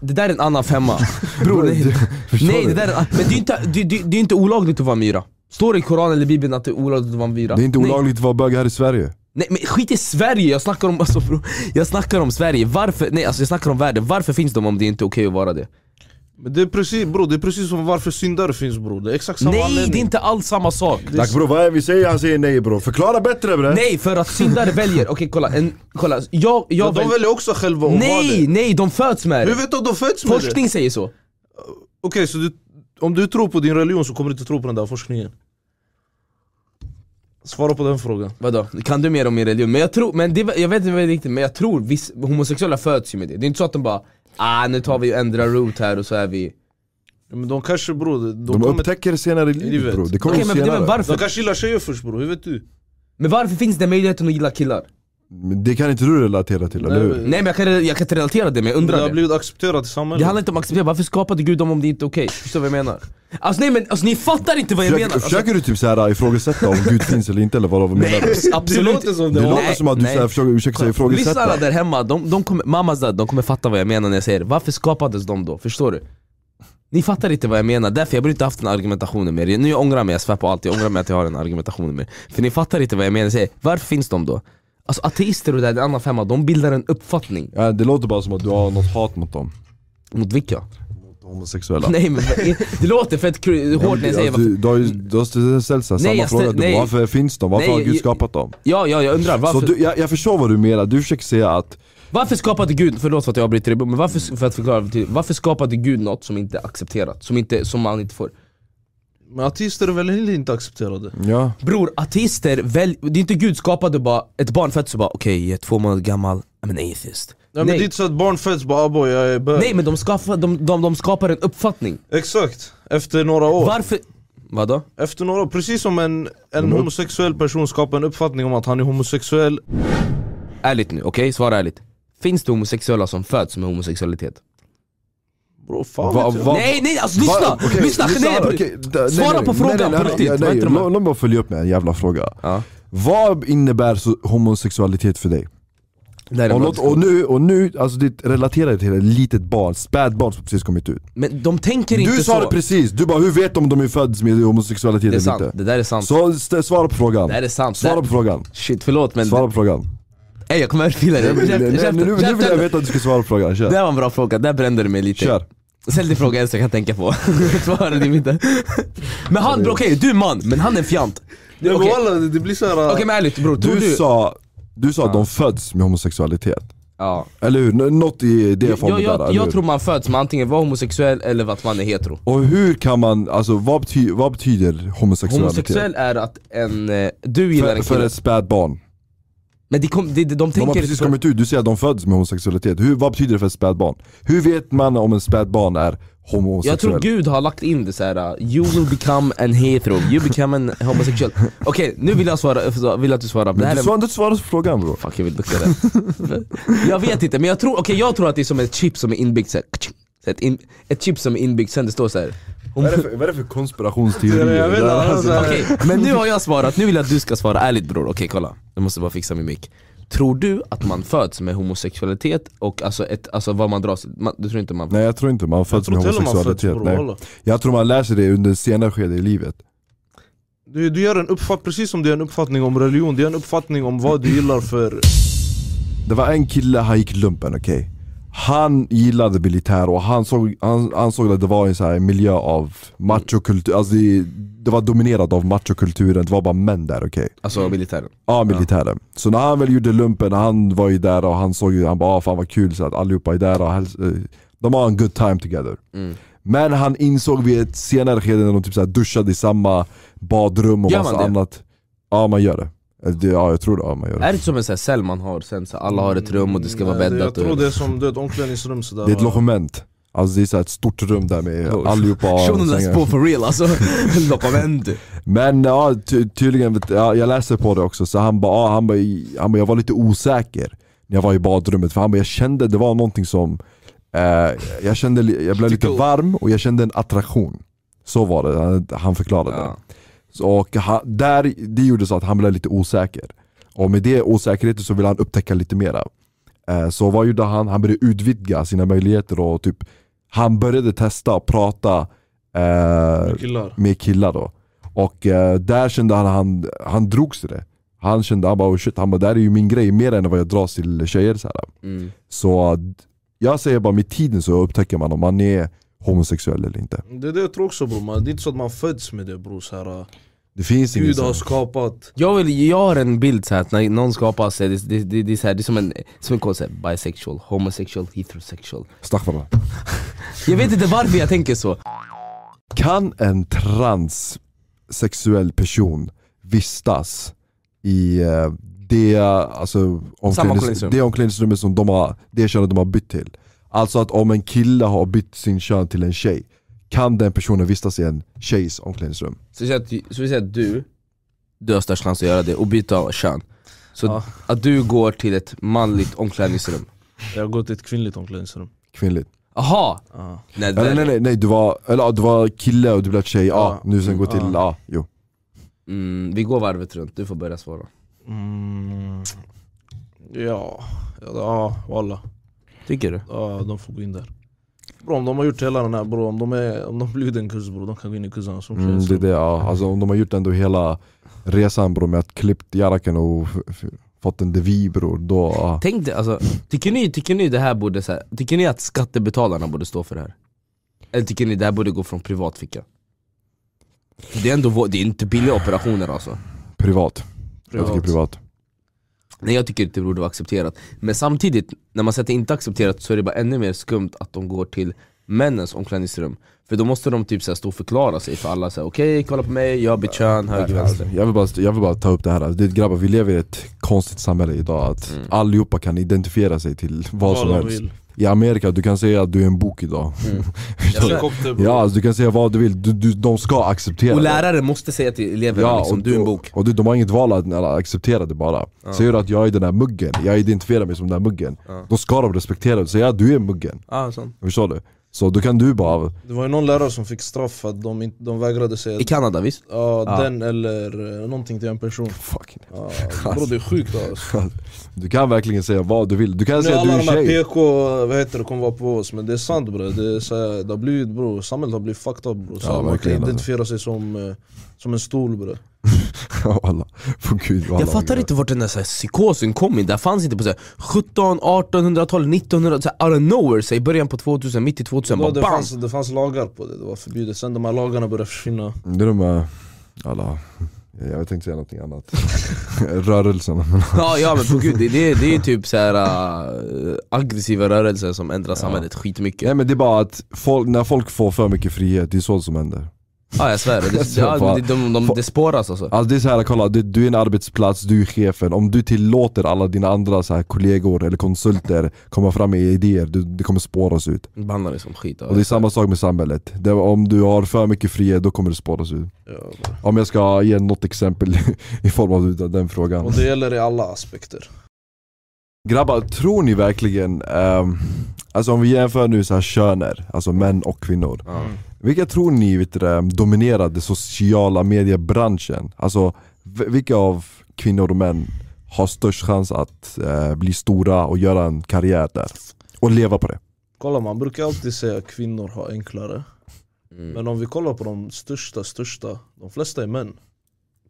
Speaker 1: Det där är en annan femma. Bror, nej.
Speaker 2: Förstår
Speaker 1: Nej det
Speaker 2: du?
Speaker 1: där, är- men det är ju inte, det, det, det är inte olagligt att vara myra Står det i koranen eller bibeln att det är olagligt att vara myra?
Speaker 2: Det är inte
Speaker 1: Nej.
Speaker 2: olagligt att vara bög här i Sverige.
Speaker 1: Nej men skit i Sverige, jag snackar om, alltså, bro, jag snackar om Sverige, varför, nej alltså jag snackar om världen, varför finns de om det inte är okej att vara det?
Speaker 3: Men det är precis bror, det är precis som varför syndare finns bror, det är exakt samma
Speaker 1: nej det är
Speaker 3: anledning
Speaker 1: inte alls samma sak!
Speaker 2: Tack bror, vad är det vi säger? Han säger nej bror. Förklara bättre bre!
Speaker 1: Nej för att syndare väljer, okej kolla, en, kolla, jag, jag
Speaker 3: Men De
Speaker 1: väl-
Speaker 3: väljer också själva att vara
Speaker 1: Nej,
Speaker 3: det
Speaker 1: nej de föds med
Speaker 3: Hur
Speaker 1: det!
Speaker 3: vet du att de föds med det? Okej
Speaker 1: Forskning säger så!
Speaker 3: så du, om du tror på din religion så kommer du inte tro på den där forskningen Svara på den frågan
Speaker 1: Vadå? Kan du mer om min religion? Men jag tror, men det, jag vet inte vad det är riktigt, men jag tror viss, homosexuella föds ju med det Det är inte så att de bara ah nu tar vi och ändrar root här och så är vi
Speaker 3: Ja, Men de kanske bror, de, de,
Speaker 2: De
Speaker 3: kommer,
Speaker 2: upptäcker det senare i livet
Speaker 3: Livet.
Speaker 2: bror. Det kommer
Speaker 1: Okej men,
Speaker 2: senare.
Speaker 1: men varför?
Speaker 3: de kanske gillar tjejer först bror, hur vet du?
Speaker 1: Men varför finns det möjligheten att gilla killar?
Speaker 2: Men det kan inte du relatera till, eller
Speaker 3: Nej,
Speaker 2: hur?
Speaker 1: Nej men jag kan, jag kan inte relatera det men jag
Speaker 3: Det
Speaker 1: undrar
Speaker 3: har
Speaker 1: det
Speaker 3: blivit accepterat i samhället
Speaker 1: Det handlar inte om att acceptera, varför skapade gud dem om det inte är okej? Förstår du vad jag menar? Alltså nej men alltså, ni fattar inte vad jag
Speaker 2: Försöker,
Speaker 1: menar! Alltså,
Speaker 2: försöker du typ så här ifrågasätta om gud finns eller inte eller vad vad menar du?
Speaker 1: nej, absolut
Speaker 3: Det låter som det
Speaker 2: Det
Speaker 3: Nej,
Speaker 2: låter som att du
Speaker 1: nej.
Speaker 2: så här försöker, försöker så här
Speaker 1: Lyssnarna
Speaker 2: ifrågasätta.
Speaker 1: där hemma, de, de kommer, mamma Zad, de kommer fatta vad jag menar när jag säger det. Varför skapades de då? Förstår du? Ni fattar inte vad jag menar, därför jag borde inte haft den argumentationen mer. Nu jag ångrar mig, jag svär på allt, jag ångrar mig att jag har den argumentationen mer. För ni fattar inte vad jag menar, jag säger, varför finns de då? Alltså ateister och det där, det andra femma, de bildar en uppfattning.
Speaker 2: Ja, det låter bara som att du har något hat mot dem.
Speaker 1: Mot vilka?
Speaker 2: Mot homosexuella.
Speaker 1: Nej men det låter fett kru- hårt när jag säger
Speaker 2: Alltså,
Speaker 1: varför.
Speaker 2: du, du har ju du har ställt så
Speaker 1: Nej,
Speaker 2: här samma
Speaker 1: jag
Speaker 2: fråga
Speaker 1: ställ-
Speaker 2: till
Speaker 1: nej.
Speaker 2: mig. Varför finns de? Varför
Speaker 1: Nej,
Speaker 2: har
Speaker 1: jag-
Speaker 2: Gud skapat dem?
Speaker 1: Ja, ja, jag undrar
Speaker 2: Så
Speaker 1: varför,
Speaker 2: du, jag, jag förstår vad du menar, du försöker säga att
Speaker 1: varför skapade Gud, förlåt för att jag avbryter dig, men varför, för att förklara, till- varför skapade Gud något som inte är accepterat? Som, inte, som man inte får?
Speaker 3: Men artister är väl heller inte accepterade?
Speaker 2: ja,
Speaker 1: Bror, ateister, väl, det är inte gud skapade bara, ett barn föds och bara okej, jag är två månader gammal, I'm an atheist
Speaker 3: Nej, men
Speaker 1: Nej.
Speaker 3: det är inte så att barn föds bara aboy, jag är bög
Speaker 1: Nej men de, skapar, de, de, de skapar en uppfattning,
Speaker 3: Exakt, efter några år
Speaker 1: varför? Mm. Vadå?
Speaker 3: Efter några år, precis som en, en
Speaker 2: upp-
Speaker 3: homosexuell person skapar en uppfattning om att han är homosexuell
Speaker 1: Ärligt nu, okej? Svara ärligt Finns det homosexuella som föds med homosexualitet?
Speaker 3: Bro, fan
Speaker 2: Va-
Speaker 3: vet jag.
Speaker 2: va-
Speaker 1: Nej nej alltså lyssna!
Speaker 2: Va- okej,
Speaker 1: lyssna, nej, nej,
Speaker 2: okej, d- nej,
Speaker 1: svara
Speaker 2: nej,
Speaker 1: på
Speaker 2: nej,
Speaker 1: frågan
Speaker 2: nej, nej,
Speaker 1: på riktigt,
Speaker 2: nej,
Speaker 1: var
Speaker 2: nej,
Speaker 1: inte de här?
Speaker 2: Låt låt mig följa upp med en jävla fråga
Speaker 1: Ja.
Speaker 2: Vad innebär så, homosexualitet för dig?
Speaker 1: Det här är
Speaker 2: Och,
Speaker 1: en
Speaker 2: låt,
Speaker 1: bra
Speaker 2: och nu, och nu alltså det relaterar till ett litet barn, spädbarn som precis kommit ut
Speaker 1: Men de tänker inte
Speaker 2: Du
Speaker 1: så
Speaker 2: sa det precis, du bara hur vet de om de är födda med homosexualitet
Speaker 1: Det är
Speaker 2: eller
Speaker 1: sant,
Speaker 2: inte?
Speaker 1: det där är sant
Speaker 2: Så st- svara på frågan,
Speaker 1: Det här är sant, det
Speaker 2: svara
Speaker 1: här,
Speaker 2: på frågan,
Speaker 1: shit förlåt men,
Speaker 2: svara på frågan
Speaker 1: ey, jag kommer överfila dig
Speaker 2: Nej, men- nej,
Speaker 1: Käften,
Speaker 2: Nu nu vill jag
Speaker 1: käften.
Speaker 2: veta att du ska svara på frågan,
Speaker 1: Det
Speaker 2: kör!
Speaker 1: här var en bra fråga, där brände du mig lite
Speaker 2: Kör!
Speaker 1: Ställ dig frågan så jag kan tänka på. Svara din inte. Men han, bror, okej du är man, men han är en fjant. Du,
Speaker 3: Nej, men
Speaker 1: Okej
Speaker 3: walla, det blir äh, såhär...
Speaker 1: Okej, men ärligt bror, tror
Speaker 2: Du
Speaker 1: du...
Speaker 2: sa, du sa att de föds med homosexualitet
Speaker 1: Ja.
Speaker 2: Eller hur? Nå- Något i det
Speaker 1: Jag,
Speaker 2: formen
Speaker 1: jag,
Speaker 2: där,
Speaker 1: jag,
Speaker 2: eller hur?
Speaker 1: tror man föds med antingen vara homosexuell eller att man är hetero.
Speaker 2: Och hur kan man, alltså vad, bety, vad betyder homosexualitet?
Speaker 1: Homosexuell är att en, eh, du gillar
Speaker 2: för,
Speaker 1: en
Speaker 2: för
Speaker 1: kille,
Speaker 2: ett spädbarn.
Speaker 1: men de, kom, de, de, de
Speaker 2: De har
Speaker 1: tänker
Speaker 2: precis kommit ut, du säger att de föddes med homosexualitet. Hur, vad betyder det för ett spädbarn? Hur vet man om en spädbarn är homosexuell?
Speaker 1: Jag tror Gud har lagt in det så här. uh, you will become an hetero, you become an homosexuell Okej, nu vill jag svara, vill att du svarar på det
Speaker 2: Men
Speaker 1: här
Speaker 2: du
Speaker 1: är,
Speaker 2: svarar inte svarar på frågan bror.
Speaker 1: Fuck jag vill dukta det Jag vet inte, men jag tror, okej jag tror att det är som ett chip som är inbyggt så här, så ett, in, ett chip som är inbyggt sen det står så här.
Speaker 2: Vad är det för, vad är det för konspirationsteorier?
Speaker 3: Jag vet inte,
Speaker 2: Det här-
Speaker 3: alltså.
Speaker 1: Okej, men nu har jag svarat, nu vill jag att du ska svara ärligt bror, okej kolla Jag måste bara fixa min mick Tror du att man föds med homosexualitet och alltså, ett, alltså vad man dras man, Du tror inte man...
Speaker 2: Nej jag tror inte man föds med
Speaker 3: tror till och med man föds
Speaker 2: homosexualitet.
Speaker 3: bror,
Speaker 2: Nej.
Speaker 3: walla.
Speaker 2: Jag tror man lär sig det under senare skede i livet.
Speaker 3: Du, du gör en uppfattning, precis som det är en uppfattning om religion, det är en uppfattning om vad du gillar för...
Speaker 2: Det var en kille, han gick lumpen, okej? Han gillade militär och han, såg, han ansåg att det var en så här miljö av machokultur, alltså det, det var dominerat av machokulturen, det var bara män där, okej?
Speaker 1: Alltså militären
Speaker 2: Ja, militären. Så när han väl gjorde lumpen, han var ju där och han såg ju, han bara ah, fan vad kul så att allihopa är där och häls- eh, de har en good time together.
Speaker 1: Mm.
Speaker 2: Men han insåg vid ett senare skede när de typ så här duschade i samma badrum och
Speaker 1: Gör
Speaker 2: massa
Speaker 1: man det?
Speaker 2: annat. Ja man gör det. Eh, det. Ja jag tror det, ja, man gör det.
Speaker 1: Är det som en sån här cell man har sen så alla har ett rum och det ska vara
Speaker 3: Nej, det-
Speaker 1: bäddat?
Speaker 3: Jag tror
Speaker 1: och-
Speaker 3: det är som du vet, omklädningsrum sådär äh,
Speaker 2: Det är ett logement. Alltså det är så här ett stort rum där med
Speaker 1: Oh.
Speaker 2: allihopa har
Speaker 1: Shunon läste
Speaker 2: sängar.
Speaker 1: på for real alltså, dokument
Speaker 2: Men ja, ty tydligen, vet- ja, jag läste på det också, så han bara, ah, han bara, i- han bara, jag var lite osäker när jag var i badrummet för han bara, jag kände det var någonting som, eh, jag kände, li- jag blev lite
Speaker 1: Tickle.
Speaker 2: varm och jag kände en attraktion. Så var det, han, han förklarade det.
Speaker 1: ja.
Speaker 2: Så, och han, där, det gjorde så att han blev lite osäker. Och med det osäkerheten så ville han upptäcka lite mera. Eh, så vad gjorde han? Han började utvidga sina möjligheter och typ, han började testa och prata eh,
Speaker 3: Killar.
Speaker 2: med killar då. Och eh, där kände han, han, han drogs till det. Han kände, han bara oh shit, han bara, det här är ju min grej mer än vad jag dras till tjejer. Så, här.
Speaker 1: mm.
Speaker 2: så eh, jag säger bara med tiden så upptäcker man om man är homosexuell eller inte.
Speaker 3: Det är det jag tror också bror, man- det är inte så att man föds med det bror såhär
Speaker 2: Det finns ingen
Speaker 3: Gud
Speaker 2: sån.
Speaker 3: har skapat
Speaker 1: jag, vill, jag har en bild så här, att när någon skapar sig, det, det, det, det, är, så här, det är som en, som en kod, så här, bisexual, homosexual, heterosexual
Speaker 2: Staffan.
Speaker 1: Jag vet inte varför jag tänker så
Speaker 2: Kan en transsexuell person vistas i eh, det, alltså, omklädnings-
Speaker 1: omklädningsrum.
Speaker 2: det omklädningsrummet som de har, det könet de har bytt till? Alltså att om en kille har bytt sin kön till en tjej, kan den personen vistas i en tjejs omklädningsrum?
Speaker 1: Så, vi säger att, så vi säger att du, du har störst chans att göra det och byta kön Så
Speaker 3: Ja.
Speaker 1: att du går till ett manligt omklädningsrum
Speaker 3: Jag går till ett kvinnligt omklädningsrum
Speaker 2: Kvinnligt.
Speaker 1: Aha!
Speaker 3: Ja.
Speaker 1: Nej,
Speaker 2: Eller nej nej, nej du, var, eller, ja, du var kille och du blev tjej, ja,
Speaker 3: Ja,
Speaker 2: nu sen går till,
Speaker 3: ja.
Speaker 2: ja, jo.
Speaker 1: Mm, vi går varvet runt, du får börja svara
Speaker 3: Mm. Ja, ja, ja walla.
Speaker 1: Tycker du?
Speaker 3: Ja, de får gå in där. Bro, om de har gjort hela den här bro, om de, är, om de har blivit en kurs bro, de kan gå in i kursen som
Speaker 2: Mm,
Speaker 3: känns.
Speaker 2: det är det, ja. alltså, om de har gjort ändå hela resan bror med att klippt jaraken och f- f- fått en devi bror, då, ja.
Speaker 1: Tänk dig, alltså, tycker, ni, tycker ni det här borde, så här, tycker ni att skattebetalarna borde stå för det här? Eller tycker ni det här borde gå från privat ficka? Det är ändå vår, det är inte billiga operationer alltså
Speaker 2: privat.
Speaker 3: Privat.
Speaker 2: Jag tycker privat.
Speaker 1: Nej jag tycker inte det borde vara accepterat Men samtidigt, när man säger att det inte är accepterat så är det bara ännu mer skumt att de går till männens omklädningsrum För då måste de typ så här stå och förklara sig för alla, så här, okej kolla på mig, jag har bytt kön, höger, vänster
Speaker 2: Jag vill, bara, jag vill bara ta upp det här, Alltså, det, grabbar vi lever i ett konstigt samhälle idag att
Speaker 1: Mm.
Speaker 2: allihopa kan identifiera sig till vad som
Speaker 3: de
Speaker 2: helst.
Speaker 3: vill.
Speaker 2: I Amerika, du kan säga att du är en bok idag.
Speaker 1: Mm.
Speaker 3: Helikopter bro.
Speaker 2: Ja, alltså, du kan säga vad du vill, du, du, de ska acceptera
Speaker 1: Och
Speaker 2: det.
Speaker 1: lärare måste säga till eleverna
Speaker 2: Ja,
Speaker 1: liksom,
Speaker 2: och-
Speaker 1: du är en bok
Speaker 2: Och du, de har inget val att att acceptera det bara. Säger du att jag är den här muggen, jag identifierar mig som den här muggen, då ska de respektera det. Säga att du är muggen,
Speaker 1: ah, sån.
Speaker 2: förstår du? Så då kan du bara,
Speaker 3: Det var ju någon lärare som fick straff för att de, inte- de vägrade säga
Speaker 1: I Kanada visst?
Speaker 3: ja,
Speaker 1: Ja.
Speaker 3: den eller eh, någonting till en person.
Speaker 2: fuck.
Speaker 3: Ja, bro, det är sjukt alltså.
Speaker 2: Du kan verkligen säga vad du vill, du kan
Speaker 3: Nu
Speaker 2: säga att du
Speaker 3: alla
Speaker 2: är
Speaker 3: de
Speaker 2: en
Speaker 3: här
Speaker 2: tjej.
Speaker 3: PK, vad heter det, kommer vara på oss men det är sant bro. Det, är så här, det har blivit, bro. Samhället har blivit fucked up bro. Så
Speaker 2: Ja,
Speaker 3: man kan
Speaker 2: verkligen, alltså.
Speaker 3: identifiera sig som, eh, som en stol bro.
Speaker 2: Ja, alla. För gud, alla
Speaker 1: Jag fattar inte vart den där så här, psykosen kom in, det fanns inte på så här, 17, 1800-talet, 1900 så här, out of nowhere, så här, i början på 2000, mitt i 2000,
Speaker 3: Då
Speaker 1: bara
Speaker 3: det,
Speaker 1: bam!
Speaker 3: fanns, det fanns lagar på det, det var förbjudet. Sen de här lagarna började försvinna.
Speaker 2: Det är de här, alla Jag tänkte säga någonting annat. Rörelsen.
Speaker 1: Ja, ja men på gud, det, det, det är ju typ så här, äh, aggressiva rörelser som ändrar samhället skitmycket.
Speaker 2: Nej men det är bara att folk, när folk får för mycket frihet, det är så som händer.
Speaker 1: Ja jag svär, det, ja, det, de, de, det spåras alltså.
Speaker 2: Alltså det är så här, kolla, du, du är en arbetsplats, du är chefen. Om du tillåter alla dina andra så här, kollegor eller konsulter komma fram med idéer, du, det kommer spåras ut.
Speaker 1: Bannar det som skit. ja.
Speaker 2: Och det är samma sak med samhället. Det, om du har för mycket frihet, då kommer det spåras ut.
Speaker 3: Ja.
Speaker 2: Om jag ska ge något exempel i form av den frågan.
Speaker 3: Och det gäller i alla aspekter.
Speaker 2: Grabbar, tror ni verkligen, ehm, alltså om vi jämför nu så här köner, alltså män och kvinnor.
Speaker 1: Ja.
Speaker 2: Vilka tror ni vet du, det, dominerar den sociala mediebranschen? Alltså v- vilka av kvinnor och män har störst chans att eh, bli stora och göra en karriär där? Och leva på det?
Speaker 3: Kolla man brukar alltid säga att kvinnor har enklare
Speaker 1: Mm.
Speaker 3: Men om vi kollar på de största, största, de flesta är män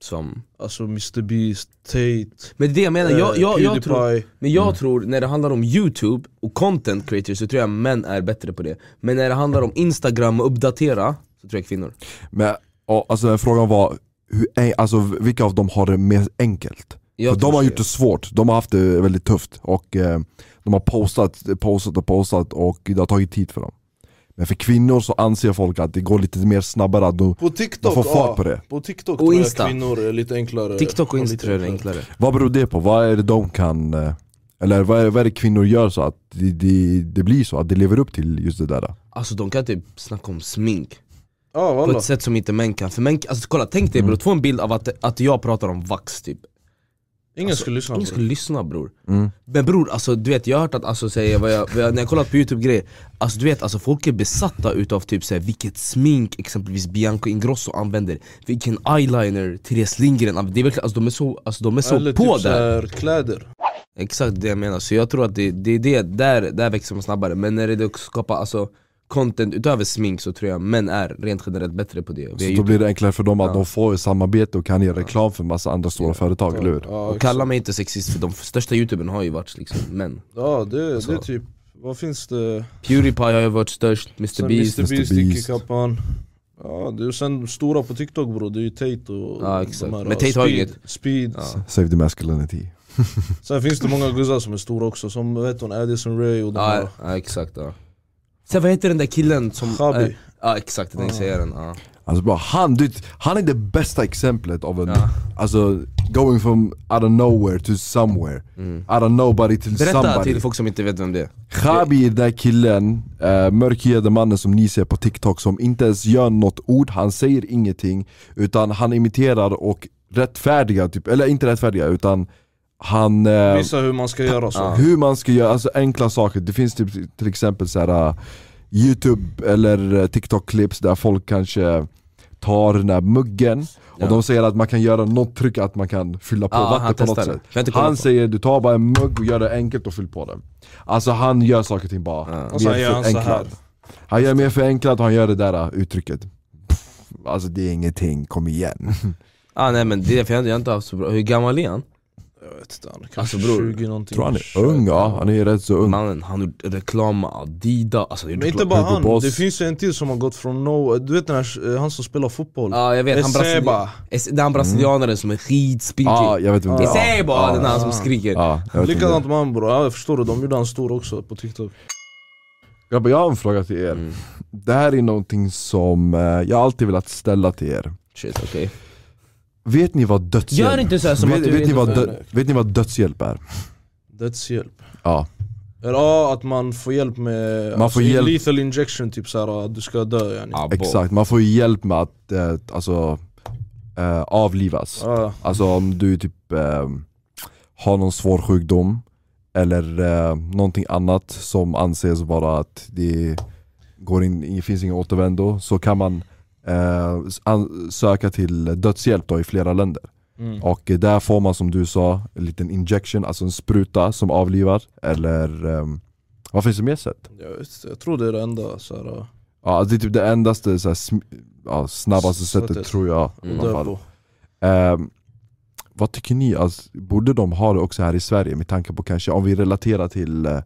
Speaker 1: Som.
Speaker 3: Alltså Mr Beast, Tate,
Speaker 1: Men det är det jag menar, jag,
Speaker 3: eh,
Speaker 1: jag, jag tror,
Speaker 3: Pewdiepie
Speaker 1: men
Speaker 2: Mm.
Speaker 1: jag tror när det handlar om youtube och content creators så tror jag män är bättre på det. Men när det handlar om instagram och uppdatera så tror jag kvinnor.
Speaker 2: Men ja, alltså, frågan var, hur, en- alltså, vilka av dem har det mer enkelt?
Speaker 1: Jag
Speaker 2: För
Speaker 1: tror
Speaker 2: de har
Speaker 1: så.
Speaker 2: gjort det svårt, de har haft det väldigt tufft och eh, de har postat, postat och postat och det har tagit tid för dem. Men för kvinnor så anser folk att det går lite mer snabbare, att de,
Speaker 3: På
Speaker 2: de
Speaker 3: TikTok,
Speaker 2: får fart på
Speaker 3: ja,
Speaker 2: det.
Speaker 3: på TikTok
Speaker 1: Och
Speaker 3: tror jag
Speaker 1: Insta.
Speaker 3: kvinnor är lite enklare
Speaker 1: TikTok och
Speaker 3: har
Speaker 1: Insta
Speaker 3: lite
Speaker 1: tror jag är enklare.
Speaker 2: Vad beror det på? Vad är det de kan, eh, eller vad är, vad är det kvinnor gör så att det, det, det blir så, att det lever upp till just det där?
Speaker 1: Alltså de kan typ snacka om smink
Speaker 3: Ja
Speaker 1: på
Speaker 3: walla,
Speaker 1: ett sätt som inte män kan. För män, alltså kolla tänk dig bror, få en bild av att, att jag pratar om vax typ.
Speaker 3: ingen skulle lyssna
Speaker 1: Alltså, Ingen
Speaker 3: på det
Speaker 1: skulle lyssna bror.
Speaker 2: Mm.
Speaker 1: Men bror, alltså, du vet jag har hört att, alltså, säga vad jag, vad jag, när jag kollat på youtube grejer Alltså du vet, alltså, folk är besatta utav typ såhär, vilket smink exempelvis Bianca Ingrosso använder Vilken eyeliner Therese Lindgren använder, det är verkligen, alltså, de är så, alltså, de är så
Speaker 3: Eller
Speaker 1: på
Speaker 3: typ
Speaker 1: där
Speaker 3: såhär kläder
Speaker 1: Exakt det jag menar, så jag tror att det, det är det, där, där växer man snabbare Men när det dock skapar alltså, content utöver smink så tror jag män är rent generellt bättre på det Vi har
Speaker 2: Så då
Speaker 1: ju-
Speaker 2: blir det enklare för dem att
Speaker 1: Ja.
Speaker 2: de får samarbete och kan ge reklam för massa andra stora
Speaker 1: Ja.
Speaker 2: företag, eller hur?
Speaker 3: Ja,
Speaker 1: Och kalla mig inte sexist för de största youtubern har ju varit liksom män
Speaker 3: ja det, det
Speaker 1: Alltså.
Speaker 3: är typ, vad finns det?
Speaker 1: Pewdiepie har ju varit störst, Mr
Speaker 3: Sen
Speaker 1: Beast
Speaker 3: Mr Beast,
Speaker 2: Beast.
Speaker 3: Kickapan Ja, det är ju sen stora på TikTok bro, det är ju Tate och
Speaker 1: Ja, exakt.
Speaker 3: de här,
Speaker 1: Men Tate har
Speaker 3: Speed,
Speaker 1: inget.
Speaker 3: Speed
Speaker 1: Ja.
Speaker 2: Save the masculinity.
Speaker 3: Sen finns det många guzzar som är stora också, som vad heter hon, Addison Ray och de
Speaker 1: Ja,
Speaker 3: här
Speaker 1: ja exakt ja. Sen vad heter den där killen som...
Speaker 3: Khabi.
Speaker 1: eh, Ja exakt, jag tänkte säga den. Ja.
Speaker 2: Alltså bara, han, du, vet, han är det bästa exemplet av en,
Speaker 1: Ja.
Speaker 2: alltså going from out of nowhere to somewhere. Out of nobody till
Speaker 1: Mm. Berätta
Speaker 2: somebody.
Speaker 1: till folk som inte vet vem det är.
Speaker 2: Khabi är den där killen, eh, mörkhyade mannen som ni ser på TikTok som inte ens gör något ord, han säger ingenting Utan han imiterar och rättfärdigar, typ, eller inte rättfärdigar utan han eh,
Speaker 3: Visa hur man ska göra så
Speaker 2: Hur man ska göra, alltså enkla saker. Det finns typ, till exempel så här eh, youtube eller eh, TikTok-clips där folk kanske tar den här muggen
Speaker 1: Ja.
Speaker 2: och de säger att man kan göra något tryck att man kan fylla på
Speaker 1: Ja, han
Speaker 2: vatten på något
Speaker 1: testar det.
Speaker 2: sätt.
Speaker 1: Jag har inte kollat
Speaker 2: Han
Speaker 1: på.
Speaker 2: säger du tar bara en mugg och gör det enkelt och fyll på den. Alltså han gör saker och ting bara
Speaker 1: Ja.
Speaker 3: Och sen
Speaker 2: mer
Speaker 3: gör han så
Speaker 2: förenklat.
Speaker 3: här.
Speaker 2: Han gör mer förenklat och han gör det där eh, uttrycket. Pff, Alltså det är ingenting, kom igen.
Speaker 1: Ah, nej men det är därför jag jag har inte haft så bra. Hur gammal är han?
Speaker 3: Jag vet inte, han är
Speaker 1: Alltså,
Speaker 3: kanske
Speaker 1: bror,
Speaker 3: 20 någonting
Speaker 2: Tror han är ung ja, han är rätt så ung.
Speaker 1: Mannen, han gjorde reklam med Adidas. Alltså,
Speaker 3: Men inte bara
Speaker 2: Hugo
Speaker 3: han,
Speaker 2: Boss.
Speaker 3: det finns ju en till som har gått från no... Du vet den här, eh, han som spelar fotboll?
Speaker 1: Ja jag vet, han, brasili-
Speaker 3: Eseba!
Speaker 1: Es- det är han brasilianaren som är skitspinkig.
Speaker 2: Ja, jag vet vem det är.
Speaker 1: Eseba,
Speaker 2: Ja,
Speaker 1: den här som
Speaker 3: Ah.
Speaker 1: skriker.
Speaker 2: ja, jag vet vem det är.
Speaker 3: Likadant med han bror, ja, jag förstår det, de gjorde han stor också på TikTok
Speaker 2: Grabbar, jag har en fråga till er.
Speaker 1: Mm.
Speaker 2: Det här är någonting som eh, jag alltid velat ställa till er.
Speaker 1: Shit, okej.
Speaker 2: Vet ni vad dödshjälp
Speaker 1: Gör inte så här som
Speaker 2: vet,
Speaker 1: att du
Speaker 2: vet, ni
Speaker 1: inte-
Speaker 2: vad
Speaker 3: Nej,
Speaker 2: dö- vet ni vad dödshjälp är?
Speaker 3: Dödshjälp
Speaker 2: Ja.
Speaker 3: Eller ja, att man får hjälp med alltså,
Speaker 2: Man får hjälp-
Speaker 3: lethal injection typ såhär, att du ska dö yani
Speaker 1: Ah, boy.
Speaker 2: Exakt, man får ju hjälp med att eh, alltså, eh, avlivas.
Speaker 3: Ja.
Speaker 2: Alltså om du typ eh, har någon svår sjukdom eller eh, någonting annat som anses vara att det går in, finns ingen återvändo så kan man eh, an- söka till dödshjälp då i flera länder.
Speaker 3: Mm.
Speaker 2: Och eh, där får man som du sa, en liten injection, alltså en spruta som avlivar eller ehm, vad finns det mer sätt?
Speaker 3: Jag, vet, inte, jag tror det är det enda såhär,
Speaker 2: Ja, alltså det är typ det endaste så här, sm- ja, snabbaste
Speaker 3: S-
Speaker 2: sättet
Speaker 3: sättet.
Speaker 2: tror jag. i
Speaker 1: Mm.
Speaker 2: alla
Speaker 3: dö
Speaker 2: fall.
Speaker 3: på
Speaker 2: Ehm, vad tycker ni, alltså, borde de ha det också här i Sverige med tanke på kanske om vi relaterar till eh,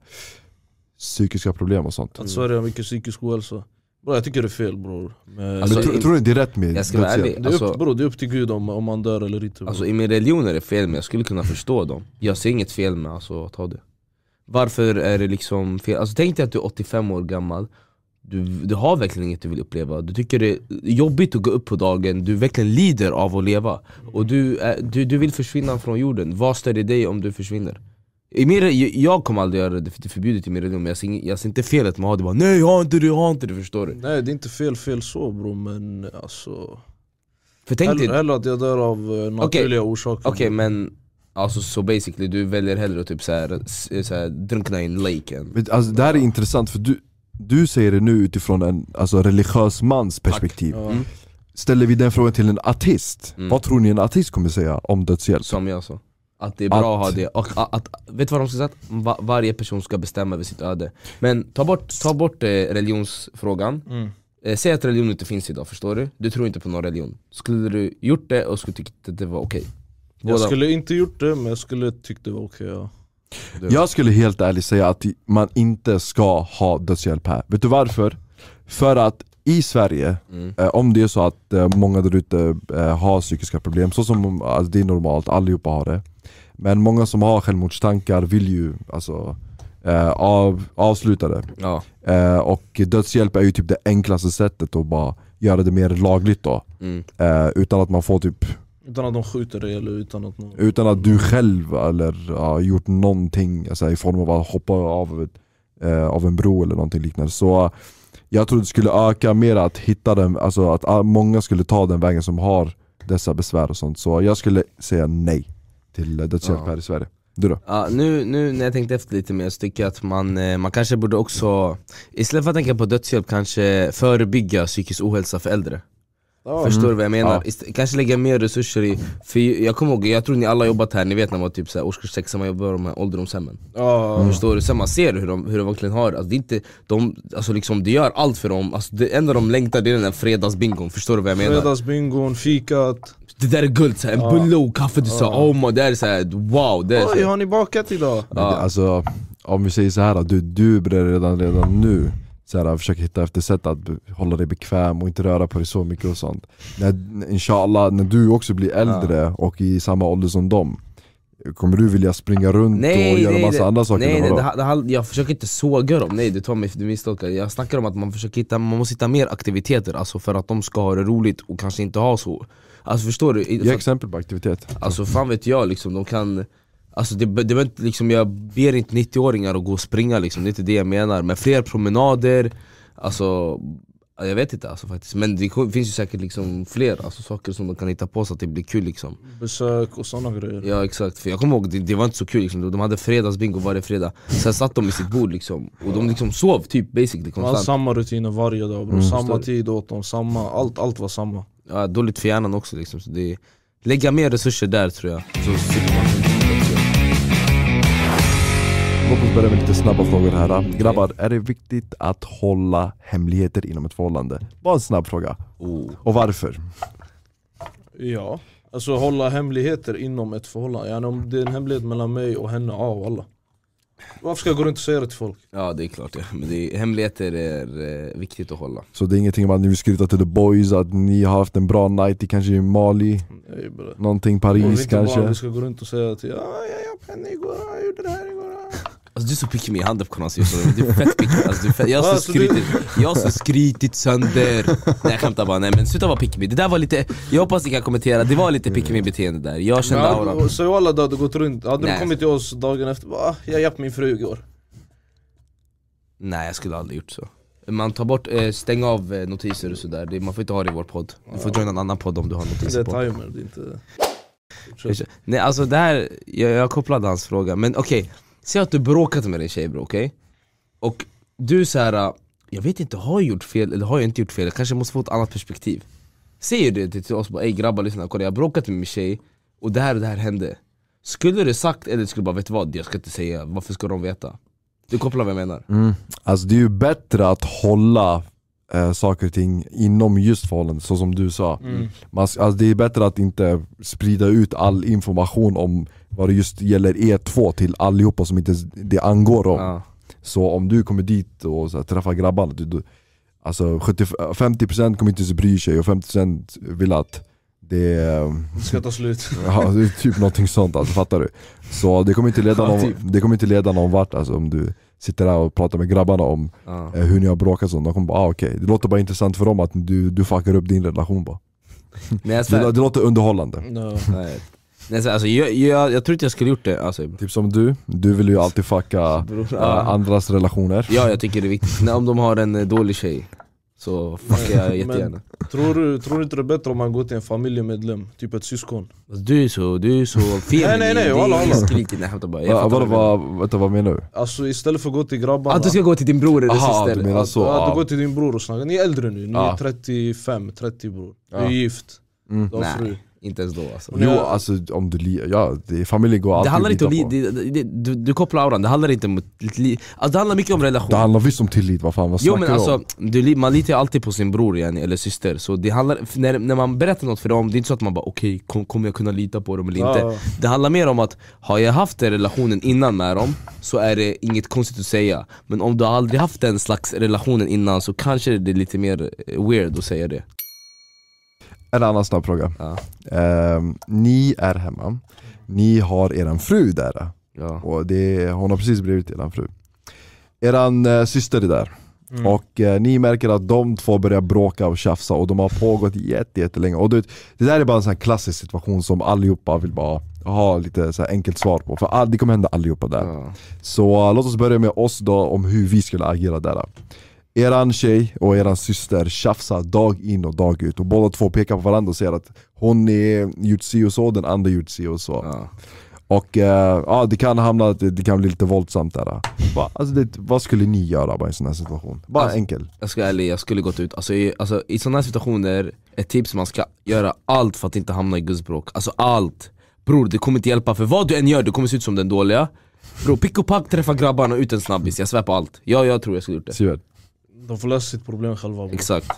Speaker 2: psykiska problem och sånt?
Speaker 3: Att Sverige har mycket psykisk ohälsa Bro, jag tycker det är fel bror.
Speaker 2: Alltså,
Speaker 3: Men,
Speaker 1: Alltså,
Speaker 2: tror,
Speaker 1: i-
Speaker 2: tror du det är rätt med
Speaker 1: Jag ska vara
Speaker 2: dödshjälp?
Speaker 1: ärlig,
Speaker 3: det, är upp,
Speaker 1: alltså,
Speaker 3: bro, det är upp till gud om, om man dör eller inte. bror.
Speaker 1: alltså, i min religion är det fel men jag skulle kunna förstå dem Jag ser inget fel med alltså, att ha det Varför är det liksom fel? Alltså, tänk dig att du är 85 år gammal du, du har verkligen inget du vill uppleva, du tycker det är jobbigt att gå upp på dagen, du verkligen lider av att leva Och du, är- du, du vill försvinna från jorden, vad stör det dig om du försvinner? I min, re- jag kommer aldrig göra det, för det är förbjudet i min religion, men jag ser, ing- jag ser inte felet med att ha det bara, Nej jag har inte det, jag har inte det, förstår du?
Speaker 3: Nej det är inte fel fel så bror men alltså...
Speaker 1: För tänk dig,
Speaker 3: Hellre, hellre att jag dör av eh, naturliga orsaker.
Speaker 1: Okej men, alltså så basically du väljer hellre att typ såhär, s- såhär, drunkna i en lake än
Speaker 2: Men, alltså, det här är intressant för du, du säger det nu utifrån en alltså, religiös mans perspektiv.
Speaker 3: Ja.
Speaker 1: Mm.
Speaker 2: Ställer vi den frågan till en artist,
Speaker 1: Mm.
Speaker 2: vad tror ni en artist kommer säga om dödshjälp?
Speaker 1: som jag sa Att det är bra att, ha
Speaker 2: Att-
Speaker 1: det, och a- att, vet du vad de ska säga? Att va, varje person ska bestämma över sitt öde Men ta bort, ta bort eh, religionsfrågan,
Speaker 3: Mm.
Speaker 1: eh, säg att religion inte finns idag, förstår du? Du tror inte på någon religion, skulle du gjort det och skulle tyckt att det var okej?
Speaker 3: Jag
Speaker 1: Båda-
Speaker 3: skulle inte gjort det men jag skulle tyckt det var okej ja.
Speaker 2: Jag skulle helt ärligt säga att man inte ska ha dödshjälp här. Vet du varför? För att i Sverige,
Speaker 1: Mm.
Speaker 2: eh, om det är så att eh, många där ute eh, har psykiska problem, så som alltså, det är normalt, allihopa har det. Men många som har självmordstankar vill ju alltså, eh, av, avsluta det.
Speaker 1: Ja,
Speaker 2: Eh, och dödshjälp är ju typ det enklaste sättet att bara göra det mer lagligt då.
Speaker 1: mm.
Speaker 2: Eh, utan att man får typ,
Speaker 3: Utan att de skjuter dig eller utan att någon...
Speaker 2: utan att du själv eller ja, gjort någonting alltså, i form av att hoppa av, ett- eh, av en bro eller någonting liknande. Så eh, jag tror det skulle öka mer att hitta den, alltså att ah, många skulle ta den vägen som har dessa besvär och sånt. Så jag skulle säga nej till eh, dödshjälp
Speaker 1: Ja.
Speaker 2: här i Sverige. Du då?
Speaker 1: Ja, nu, nu när jag tänkte efter lite mer så tycker jag att man, eh, man kanske borde också Istället för att tänka på dödshjälp kanske förebygga psykisk ohälsa för äldre
Speaker 3: Ja,
Speaker 1: Förstår du vad jag menar?
Speaker 2: Ja.
Speaker 1: Ist- Kanske lägga mer resurser i, för jag kommer ihåg, jag tror ni alla har jobbat här, ni vet när man var typ så här, årskurs 6, man jobbar på de här ålderdomshemmen
Speaker 3: ja.
Speaker 1: Förstår du? Sen man ser hur de, hur de verkligen har det. alltså, det, är inte, de, alltså liksom, det gör allt för dem, alltså, det enda de längtar det är den där fredagsbingon, förstår du vad jag menar?
Speaker 3: Fredagsbingon, fikat.
Speaker 1: Det där är guld, så här, en bulle och kaffe, du sa oh my, det här är såhär wow, det är så
Speaker 3: Oj
Speaker 1: här,
Speaker 3: har ni bakat idag?
Speaker 2: Men det- Alltså, om vi säger så här, du, du börjar redan, redan nu så här, försöka hitta efter sätt att be- hålla dig bekväm och inte röra på dig så mycket och sånt. När, inshallah, när du också blir äldre och i samma ålder som dem, kommer du vilja springa runt och göra massa
Speaker 1: det-
Speaker 2: andra saker?
Speaker 1: Nej,
Speaker 2: eller
Speaker 1: nej
Speaker 2: vadå?
Speaker 1: det, här- det, här- jag försöker inte såga dem, nej du tar mig, du misstolkar Jag snackar om att man försöker hitta, man måste hitta mer aktiviteter alltså för att de ska ha det roligt och kanske inte ha så Alltså förstår du? I-
Speaker 2: Ge
Speaker 1: för-
Speaker 2: exempel på aktivitet.
Speaker 1: Alltså fan vet jag liksom, de kan Alltså det, be- det behöver inte, liksom, jag ber inte 90-åringar att gå och springa liksom, det är inte det jag menar Men fler promenader, alltså jag vet inte alltså faktiskt, men det ko- finns ju säkert liksom fler alltså, saker som de kan hitta på så att det blir kul liksom
Speaker 3: Besök och sådana grejer.
Speaker 1: Ja exakt, för jag kommer ihåg, det, det var inte så kul liksom. de hade fredagsbingo varje fredag Sen satt de i sitt bord liksom, och de liksom sov typ basically
Speaker 3: Man hade
Speaker 1: konstant
Speaker 3: samma rutiner varje dag
Speaker 1: Mm,
Speaker 3: bror, samma tid åt dem, samma, allt, allt var samma.
Speaker 1: ja, Dåligt för hjärnan också liksom, så det, lägga mer resurser där tror jag så, slipper man.
Speaker 2: Låt oss börja med lite snabba frågor här. Grabbar, är det viktigt att hålla hemligheter inom ett förhållande? Bara en snabb fråga.
Speaker 1: oh.
Speaker 2: Och varför?
Speaker 3: Ja. Alltså hålla hemligheter inom ett förhållande. Yani, om det är en hemlighet mellan mig och henne, ja alla. Varför ska jag gå runt och säga det till folk?
Speaker 1: Ja det är klart ja. men det är, hemligheter är eh, viktigt att hålla
Speaker 2: Så det är ingenting om att ni vill skryta till the boys, att ni har haft en bra night i kanske i Mali,
Speaker 3: Nej bror.
Speaker 2: någonting
Speaker 3: Om
Speaker 2: Paris
Speaker 3: inte
Speaker 2: kanske?
Speaker 3: bara vi ska gå runt och säga till ja, jag hjälpte henne igår, jag gjorde det här igår. ja."
Speaker 1: Alltså du är så picky med handen på just nu, du är fett picky alltså, du är fett, Jag har så
Speaker 3: Alltså, du-
Speaker 1: skrytit, jag har så skrytit sönder Nej jag skämtar bara, nej men sluta vara picky med. det där var lite, jag hoppas ni kan kommentera, det var lite picky med beteende där Jag kände
Speaker 3: Men
Speaker 1: auran
Speaker 3: hade- Så alla du hade gått runt, hade
Speaker 1: Nej.
Speaker 3: du kommit till oss dagen efter bara, "Ah, jag hjälpte min fru igår.
Speaker 1: Nej jag skulle aldrig gjort så Man tar bort, eh, stäng av eh, notiser och sådär, Det- man får inte ha det i vår podd Du får joina en annan podd om du har
Speaker 3: Det
Speaker 1: notiser
Speaker 3: är
Speaker 1: på
Speaker 3: timer, det är inte...
Speaker 1: Nej alltså det här, jag, jag kopplade hans fråga, men okej Säg att du bråkat med din tjej bro, okej? Och du så här. äh, jag vet inte, har jag gjort fel eller har jag inte gjort fel? Jag kanske måste få ett annat perspektiv Säger du det till oss, bara ey grabbar lyssna, kolla jag har bråkat med min tjej och det här och det här hände Skulle du sagt eller skulle du bara vet du vad, jag ska inte säga, varför ska de veta? Du kopplar vad jag menar?
Speaker 2: Mm. Alltså det är ju bättre att hålla eh, saker och ting inom just förhållandet, så som du sa.
Speaker 3: Mm.
Speaker 2: Man, s- alltså det är bättre att inte sprida ut all information om vad det just gäller er två till allihopa som inte s- det angår dem.
Speaker 1: Ja.
Speaker 2: Så om du kommer dit och så här, träffar grabbarna, du, du, Alltså 70, 50% kommer inte ens bry sig och 50% vill att det eh, är,
Speaker 3: Det ska ta slut.
Speaker 2: ja, det är typ någonting sånt alltså, fattar du? Så det kommer inte leda
Speaker 1: Ja,
Speaker 2: någon,
Speaker 1: typ.
Speaker 2: det kommer inte leda någon vart alltså, om du sitter där och pratar med grabbarna om
Speaker 1: Ja.
Speaker 2: eh, hur ni har bråkat och sånt. De kommer bara ah, okej, det låter bara intressant för dem att du, du fuckar upp din relation bara.
Speaker 1: Nej, jag,
Speaker 2: Det,
Speaker 1: svär,
Speaker 2: det låter underhållande.
Speaker 3: No.
Speaker 1: nej, jag, svär, alltså, jag, jag, jag tror inte jag skulle gjort det alltså,
Speaker 2: Typ som du, du vill ju alltid fucka
Speaker 1: bror.
Speaker 2: eh,
Speaker 1: Ja.
Speaker 2: andras relationer.
Speaker 1: Ja jag tycker det är viktigt, Nej, om de har en eh, dålig tjej så fuckar jag jättegärna
Speaker 3: Tror du tror du inte det är bättre om man går till en familjemedlem? Typ ett syskon?
Speaker 1: Alltså, Du är så, du är så feminin,
Speaker 3: Nej, nej, nej,
Speaker 1: du är
Speaker 3: alla, alla.
Speaker 1: skrikig. Nej jag skämtar bara Jag
Speaker 2: Va,
Speaker 1: fattar
Speaker 2: vad,
Speaker 1: vad du menar.
Speaker 2: vad, vänta, vad menar du?
Speaker 3: Alltså istället för att gå till grabbarna
Speaker 1: Att du ska gå till din bror eller
Speaker 2: Aha, du
Speaker 1: syster
Speaker 2: menar så?
Speaker 3: ja, du går
Speaker 2: Ja.
Speaker 3: till din bror och snackar, ni är äldre nu, ni
Speaker 2: Ja.
Speaker 3: är 35, 30 bror Du
Speaker 2: Ja.
Speaker 3: är gift,
Speaker 2: Mm.
Speaker 3: du har
Speaker 1: Alltså, Nej.
Speaker 3: fru
Speaker 1: Inte ens då alltså
Speaker 2: Jo alltså om du li- ja, det, familjen går
Speaker 1: Det
Speaker 2: alltid
Speaker 1: handlar
Speaker 2: att
Speaker 1: inte om
Speaker 2: lita
Speaker 1: li-
Speaker 2: på.
Speaker 1: det, det, du, du kopplar auran, det handlar inte om ett li- alltså, Det handlar mycket om relation
Speaker 2: Det handlar visst om tillit, vad fan vad
Speaker 1: Jo
Speaker 2: snackar
Speaker 1: men
Speaker 2: du
Speaker 1: alltså,
Speaker 2: om?
Speaker 1: du, li- man litar ju alltid på sin bror yani, eller syster, så det handlar, f- när, när man berättar något för dem, det är inte så att man bara okej, kom, kommer jag kunna lita på dem eller inte?
Speaker 3: Ja.
Speaker 1: Det handlar mer om att, har jag haft den relationen innan med dem, så är det inget konstigt att säga Men om du aldrig haft den slags relationen innan så kanske det är lite mer eh, weird att säga det
Speaker 2: En annan snabb fråga.
Speaker 1: Ja.
Speaker 2: Ehm, ni är hemma, ni har eran fru där
Speaker 1: Ja,
Speaker 2: och det, hon har precis blivit eran fru. Eran eh, syster är där
Speaker 1: Mm.
Speaker 2: och eh, ni märker att de två börjar bråka och tjafsa och de har pågått jätte, jättelänge. Och du vet, det där är bara en sån här klassisk situation som allihopa vill bara ha lite så här enkelt svar på, för all, det kommer hända allihopa där.
Speaker 1: ja.
Speaker 2: Så äh, låt oss börja med oss då om hur vi skulle agera där. Eran tjej och eran syster tjafsar dag in och dag ut och båda två pekar på varandra och säger att hon är gjort si och så, den andra gjort si och så.
Speaker 1: ja.
Speaker 2: Och äh, ja, det kan hamna, det, det kan bli lite våldsamt där. Va, alltså det, vad skulle ni göra bara i en sån här situation? Bara
Speaker 1: Alltså-
Speaker 2: enkel.
Speaker 1: Jag ska vara ärlig, jag skulle gått ut, alltså, i- alltså, i sådana här situationer, ett tips man ska göra allt för att inte hamna i gudsbråk Alltså allt! Bror det kommer inte hjälpa, för vad du än gör, du kommer se ut som den dåliga Bror, pick och pack, träffa grabbarna, ut en snabbis, jag svär på allt Ja, jag tror jag skulle gjort det
Speaker 2: Sivert.
Speaker 3: De får lösa sitt problem själva bror
Speaker 1: Exakt,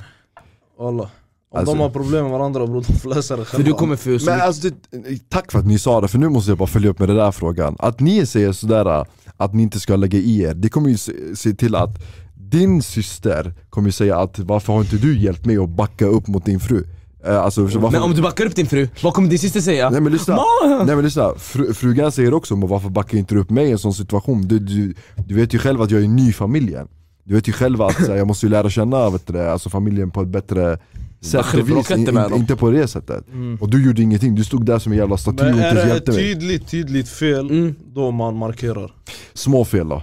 Speaker 3: Alla. Om
Speaker 2: Alltså-
Speaker 3: de har problem med varandra bror, de får lösa det
Speaker 1: för
Speaker 3: själva
Speaker 1: du kommer få så
Speaker 2: Men
Speaker 1: mycket...
Speaker 2: alltså, det, tack för att ni sa det, för nu måste jag bara följa upp med den där frågan. Att ni säger sådär att ni inte ska lägga i er, det kommer ju se, se till att din syster kommer ju säga att varför har inte du hjälpt mig att backa upp mot din fru? Eh, Alltså, så varför,
Speaker 1: Men om du backar upp din fru, vad kommer din syster säga?
Speaker 2: Nej men lyssna,
Speaker 1: Ma!
Speaker 2: Nej, men lyssna. Fru, frugan säger också men varför backar inte du upp mig i en sån situation? Du, du, du vet ju själv att jag är ny i familjen. Du vet ju själv att så här, jag måste ju lära känna vet du, det, alltså, familjen på ett bättre sätt
Speaker 1: Bättre
Speaker 2: och vis,
Speaker 1: bråka
Speaker 2: in,
Speaker 1: inte med
Speaker 2: in,
Speaker 1: dem.
Speaker 2: inte på det sättet. Och du gjorde ingenting, du stod där som en jävla staty och
Speaker 3: Men
Speaker 2: inte
Speaker 3: är
Speaker 2: ens
Speaker 3: det typ- ett
Speaker 2: hjälpte mig.
Speaker 3: tydligt, tydligt fel,
Speaker 1: Mm.
Speaker 3: då man markerar
Speaker 2: Små fel då.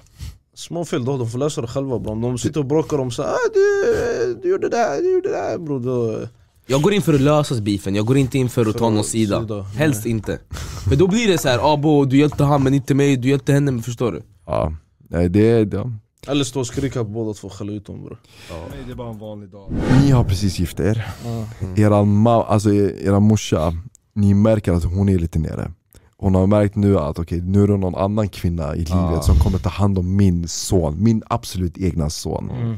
Speaker 3: Små fel då, de får lösa det själva bror Om de sitter och bråkar om såhär ah, du, du gjorde det här, du gjorde det här bror då...
Speaker 1: Jag går in för att lösa beefen, jag går inte in för att
Speaker 3: För
Speaker 1: ta någon
Speaker 3: att
Speaker 1: sida.
Speaker 3: sida,
Speaker 1: Helst inte. För då blir det så här, abo du hjälpte han men inte mig, du hjälpte henne, men förstår du?
Speaker 2: Ja. Nej, det, det.
Speaker 3: Eller stå och skrika på båda två, skälla ut dem bror
Speaker 2: det är bara en vanlig dag. Ni har precis gift er.
Speaker 3: Ja.
Speaker 2: Eran, ma- alltså, er, eran morsa, ni märker att hon är lite nere. Hon har märkt nu att okej, nu är det någon annan kvinna i livet
Speaker 1: Ah.
Speaker 2: som kommer ta hand om min son, min absolut egna son.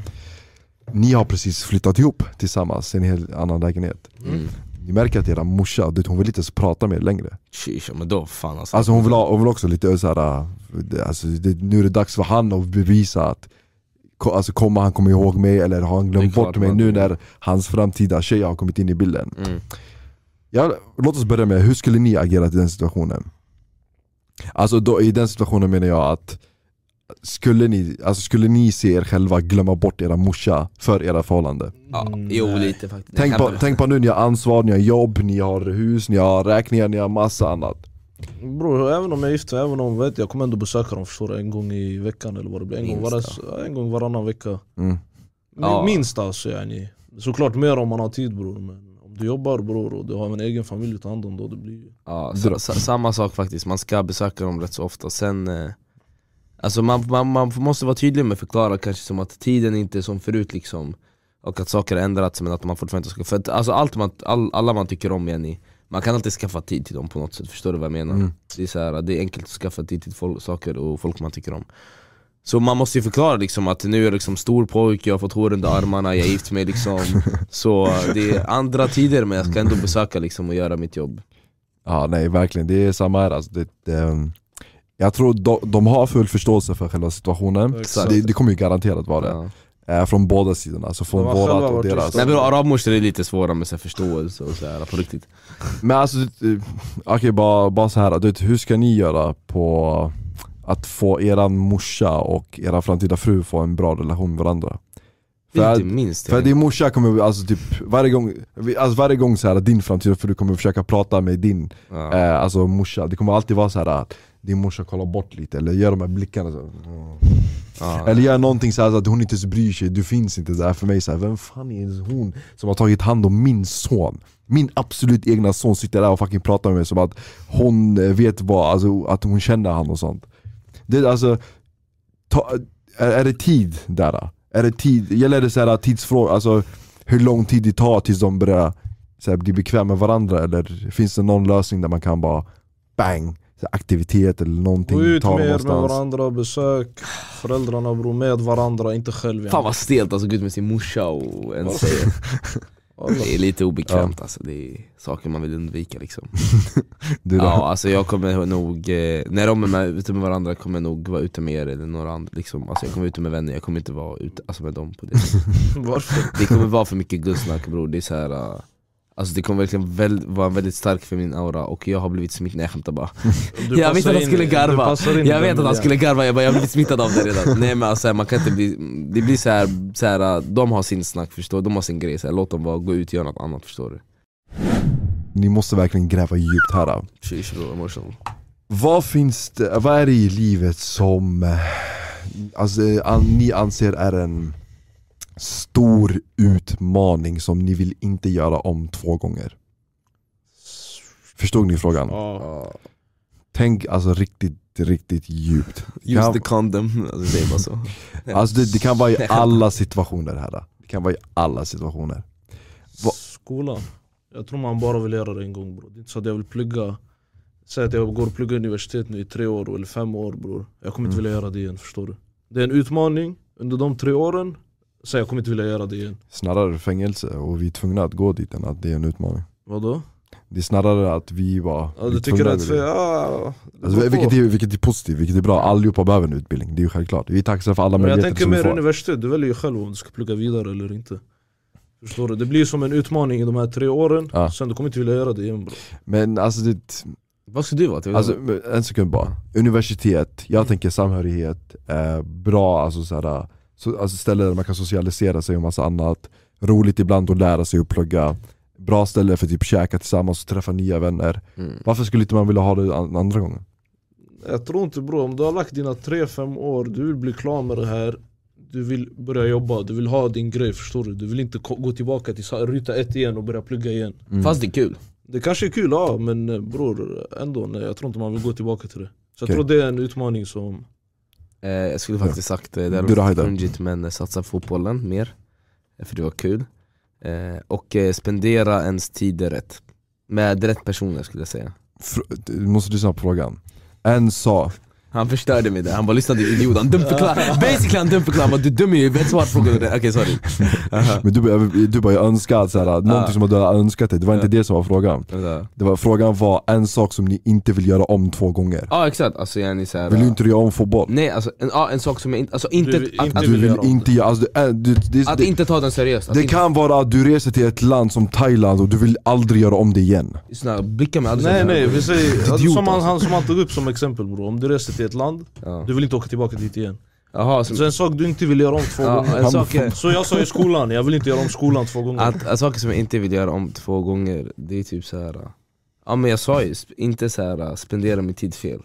Speaker 2: Ni har precis flyttat ihop tillsammans i en helt annan lägenhet.
Speaker 1: Mm.
Speaker 2: Ni märker att era morsa, du vet, hon vill inte ens prata med er längre.
Speaker 1: Sheesh, men då fan alltså.
Speaker 2: Alltså hon vill, ha, hon vill också lite såhär, alltså, det, nu är det dags för han att bevisa att ko- Alltså kommer han komma ihåg mig eller har han glömt
Speaker 1: Det är
Speaker 2: bort
Speaker 1: klart
Speaker 2: mig
Speaker 1: man-
Speaker 2: nu när hans framtida tjej har kommit in i bilden?
Speaker 1: Mm.
Speaker 2: Ja, låt oss börja med, hur skulle ni agera i den situationen? Alltså då, i den situationen menar jag att skulle ni, alltså, skulle ni se er själva glömma bort era morsa för era förhållande?
Speaker 1: Ja, jo
Speaker 3: Nej.
Speaker 1: lite faktiskt.
Speaker 2: Tänk
Speaker 1: Jag
Speaker 2: på,
Speaker 1: skämtar.
Speaker 2: tänk på nu, ni har ansvar, ni har jobb, ni har hus, ni har räkningar, ni har massa annat.
Speaker 3: Bror, även om jag är gift, även om vet, jag kommer ändå besöka dem förstår du, en gång i veckan eller vad det blir. En, gång,
Speaker 1: Minst,
Speaker 3: varann, en gång varannan vecka.
Speaker 2: Mm.
Speaker 3: Min,
Speaker 1: Ja.
Speaker 3: Minst alltså yani. Såklart mer om man har tid bror, men om du jobbar bror och du har en egen familj att ta hand om då, det blir
Speaker 1: Ja,
Speaker 2: Dra-
Speaker 1: sa, sa, samma sak faktiskt, man ska besöka dem rätt så ofta Sen, eh, alltså man, man, man måste vara tydlig med att förklara kanske som att tiden inte är som förut liksom Och att saker har ändrats men att man fortfarande inte ska, för att, alltså allt man, all, alla man tycker om Jenny Man kan alltid skaffa tid till dem på något sätt, förstår du vad jag menar?
Speaker 2: Mm.
Speaker 1: Det, är så här, det är enkelt att skaffa tid till folk, saker och folk man tycker om så man måste ju förklara liksom att nu är jag liksom stor pojk, jag har fått hår under armarna, jag har gift mig liksom Så det är andra tider men jag ska ändå besöka liksom och göra mitt jobb
Speaker 2: Ja nej verkligen, det är samma här alltså, det, det, Jag tror de, de har full förståelse för själva situationen,
Speaker 3: Exakt.
Speaker 2: det, det kommer ju garanterat vara det
Speaker 1: Ja.
Speaker 2: Eh, från båda sidorna, alltså från
Speaker 3: De har
Speaker 2: vårat
Speaker 3: själva
Speaker 2: och
Speaker 3: varit
Speaker 2: deras.
Speaker 3: tysta.
Speaker 1: Nej bror, arabmorsor är lite svåra med så här, förståelse och sådär på riktigt.
Speaker 2: Men alltså, eh, okej bara, bara så här. Du vet, hur ska ni göra på att få eran morsa och era framtida fru få en bra relation med varandra? För, att,
Speaker 1: Inte minst.
Speaker 2: för att din morsa kommer, alltså typ varje gång, alltså varje gång så här, din framtida fru kommer försöka prata med din
Speaker 1: Ja.
Speaker 2: eh, alltså morsa, det kommer alltid vara så här att din morsa kollar bort lite eller gör de här blickarna så.
Speaker 1: Ja.
Speaker 2: Eller gör någonting så, här så att hon inte ens bryr sig, du finns inte där för mig så här, Vem fan är ens hon som har tagit hand om min son? Min absolut egna son sitter där och fucking pratar med mig som att hon eh, vet vad, alltså att hon känner han och sånt Det är alltså, ta, är, är det tid där? Är det tid, gäller det så här tidsfråga, alltså hur lång tid det tar tills de börjar så här, bli bekväma med varandra? Eller finns det någon lösning där man kan bara bang, så här, aktivitet eller någonting
Speaker 3: Gå ut
Speaker 2: ta dem
Speaker 3: mer med
Speaker 2: någonstans?
Speaker 3: varandra, besök föräldrarna bror, med varandra, inte själv igen.
Speaker 1: Fan vad stelt alltså, gå ut med sin morsa och en
Speaker 3: Ja.
Speaker 1: tjej.
Speaker 3: Alla.
Speaker 1: Det är lite obekvämt alltså, det är saker man vill undvika liksom.
Speaker 2: Du då?
Speaker 1: Ja alltså jag kommer nog, eh, när de är med, ute med varandra kommer jag nog vara ute med er eller några andra liksom. Alltså jag kommer vara ute med vänner, jag kommer inte vara ute alltså, med dem på det sättet.
Speaker 3: Varför?
Speaker 1: Det kommer vara för mycket gudsnack bror, det är så här. eh, Alltså det kommer verkligen väl, vara väldigt stark för min aura och jag har blivit smittad, nej jag skämtar bara
Speaker 3: Du
Speaker 1: Jag visste
Speaker 3: passar
Speaker 1: att han
Speaker 3: in-
Speaker 1: skulle
Speaker 3: du
Speaker 1: garva.
Speaker 3: passar in i
Speaker 1: Jag
Speaker 3: den
Speaker 1: vet att han
Speaker 3: miljön.
Speaker 1: skulle garva, jag bara jag har blivit smittad av det redan Nej men alltså man kan inte bli, det blir så här, så här de har sin snack förstår du, de har sin grej, så här, låt dem bara gå ut och göra något annat förstår du
Speaker 2: Ni måste verkligen gräva djupt här. då.
Speaker 1: Sheesh bror, emotional
Speaker 2: Vad finns det, vad är det i livet som eh, alltså, eh, an, ni anser är en stor utmaning som ni vill inte göra om två gånger? Förstod ni frågan?
Speaker 3: Ja.
Speaker 2: Tänk alltså riktigt, riktigt djupt. Det
Speaker 1: Use
Speaker 2: kan,
Speaker 1: the condom, alltså, det är bara så
Speaker 2: alltså, det, det kan vara i alla situationer här. då. Det kan vara i alla situationer. Va-
Speaker 3: Skolan. Jag tror man bara vill göra det en gång bror. Det är inte så att jag vill plugga. Säg att jag går och pluggar universitet nu i tre år eller fem år bror. Jag kommer inte
Speaker 2: Mm.
Speaker 3: vilja göra det igen förstår du. Det är en utmaning under de tre åren. Så jag kommer inte vilja göra det igen.
Speaker 2: Snarare fängelse och vi är tvungna att gå dit än att det är en utmaning.
Speaker 3: Vadå?
Speaker 2: Det är snarare att vi var...
Speaker 3: Ja,
Speaker 2: vi
Speaker 3: du
Speaker 2: är
Speaker 3: tycker
Speaker 2: tvungna
Speaker 3: att...
Speaker 2: att-
Speaker 3: För, ja,
Speaker 2: Alltså,
Speaker 3: gå på.
Speaker 2: vilket, är, vilket är positivt, vilket är bra. Allihopa behöver en utbildning, det är ju självklart. Vi är tacksamma för alla
Speaker 3: Men jag
Speaker 2: möjligheter
Speaker 3: tänker
Speaker 2: som vi
Speaker 3: mer
Speaker 2: får.
Speaker 3: universitet, du väljer ju själv om du ska plugga vidare eller inte. Förstår du? Det blir som en utmaning i de här tre åren,
Speaker 2: Ja.
Speaker 3: sen du kommer inte vilja göra det igen bro.
Speaker 2: Men alltså, det,
Speaker 1: Vad ska du vara? till?
Speaker 2: alltså, en sekund bara. Universitet,
Speaker 3: Mm.
Speaker 2: jag tänker samhörighet, eh, bra alltså, så här, så, alltså ställe där man kan socialisera sig och massa annat. Roligt ibland att lära sig att plugga. Bra ställe för typ käka tillsammans och träffa nya vänner.
Speaker 1: mm.
Speaker 2: Varför skulle inte man vilja ha det an- andra gången?
Speaker 3: Jag tror inte bro, om du har lagt dina 3-5 år, du vill bli klar med det här Du vill börja jobba, du vill ha din grej förstår du? Du vill inte ko- gå tillbaka till sa- ruta ett igen och börja plugga igen
Speaker 1: Fast det är kul
Speaker 3: Det kanske är kul ja, men eh, bror ändå nej, jag tror inte man vill gå tillbaka till det Så jag
Speaker 2: Okej.
Speaker 3: tror det är en utmaning som...
Speaker 1: Eh, Jag skulle faktiskt sagt eh, det
Speaker 2: Du då,
Speaker 1: hade
Speaker 2: Haidar?
Speaker 1: varit fungit men eh, satsa på fotbollen mer eh, För det var kul eh, Och eh, spendera ens tid rätt Med rätt personer skulle jag säga
Speaker 2: Fr- du måste lyssna på frågan. En sa,
Speaker 1: Han förstörde mig där, han bara lyssnade idiot, han dumförklarade Basically han dumförklarade, han bara du är dum i huvudet, svara på frågan Okej sorry
Speaker 2: men du, bara- du bara jag önskar att så här, någonting som du har önskat dig, det var inte det som var frågan.
Speaker 1: Vänta.
Speaker 2: Det var, frågan var en sak som ni inte vill göra om två gånger.
Speaker 1: Ja exakt, alltså yani såhär
Speaker 2: Vill du inte göra om fotboll?
Speaker 1: Nej alltså en, ja, en sak som jag inte, alltså inte,
Speaker 3: Du vill
Speaker 1: att,
Speaker 3: inte-
Speaker 1: att,
Speaker 2: Du
Speaker 3: vill
Speaker 2: vill
Speaker 3: göra om
Speaker 2: inte göra, alltså, det, är- det, det,
Speaker 1: att
Speaker 2: det,
Speaker 1: inte ta den seriöst, att
Speaker 2: det
Speaker 1: inte,
Speaker 2: kan vara att du reser till ett land som Thailand och du vill aldrig göra om det igen.
Speaker 1: såna, blicka med aldrig
Speaker 3: Nej
Speaker 1: såna här-
Speaker 3: nej, vi säger,
Speaker 2: Idiot,
Speaker 3: som, han,
Speaker 2: alltså.
Speaker 3: han, som han tog upp som exempel bror Om du reser till ett land,
Speaker 1: Ja.
Speaker 3: du vill inte åka tillbaka dit igen
Speaker 1: Jaha, som,
Speaker 3: Så en sak du inte vill göra om två
Speaker 1: ja,
Speaker 3: gånger
Speaker 1: en sak är,
Speaker 3: Så jag sa i skolan, jag vill inte göra om skolan två gånger
Speaker 1: att, att saker som jag inte vill göra om två gånger, det är typ så här. Ja men jag sa ju, sp- inte så här spendera min tid fel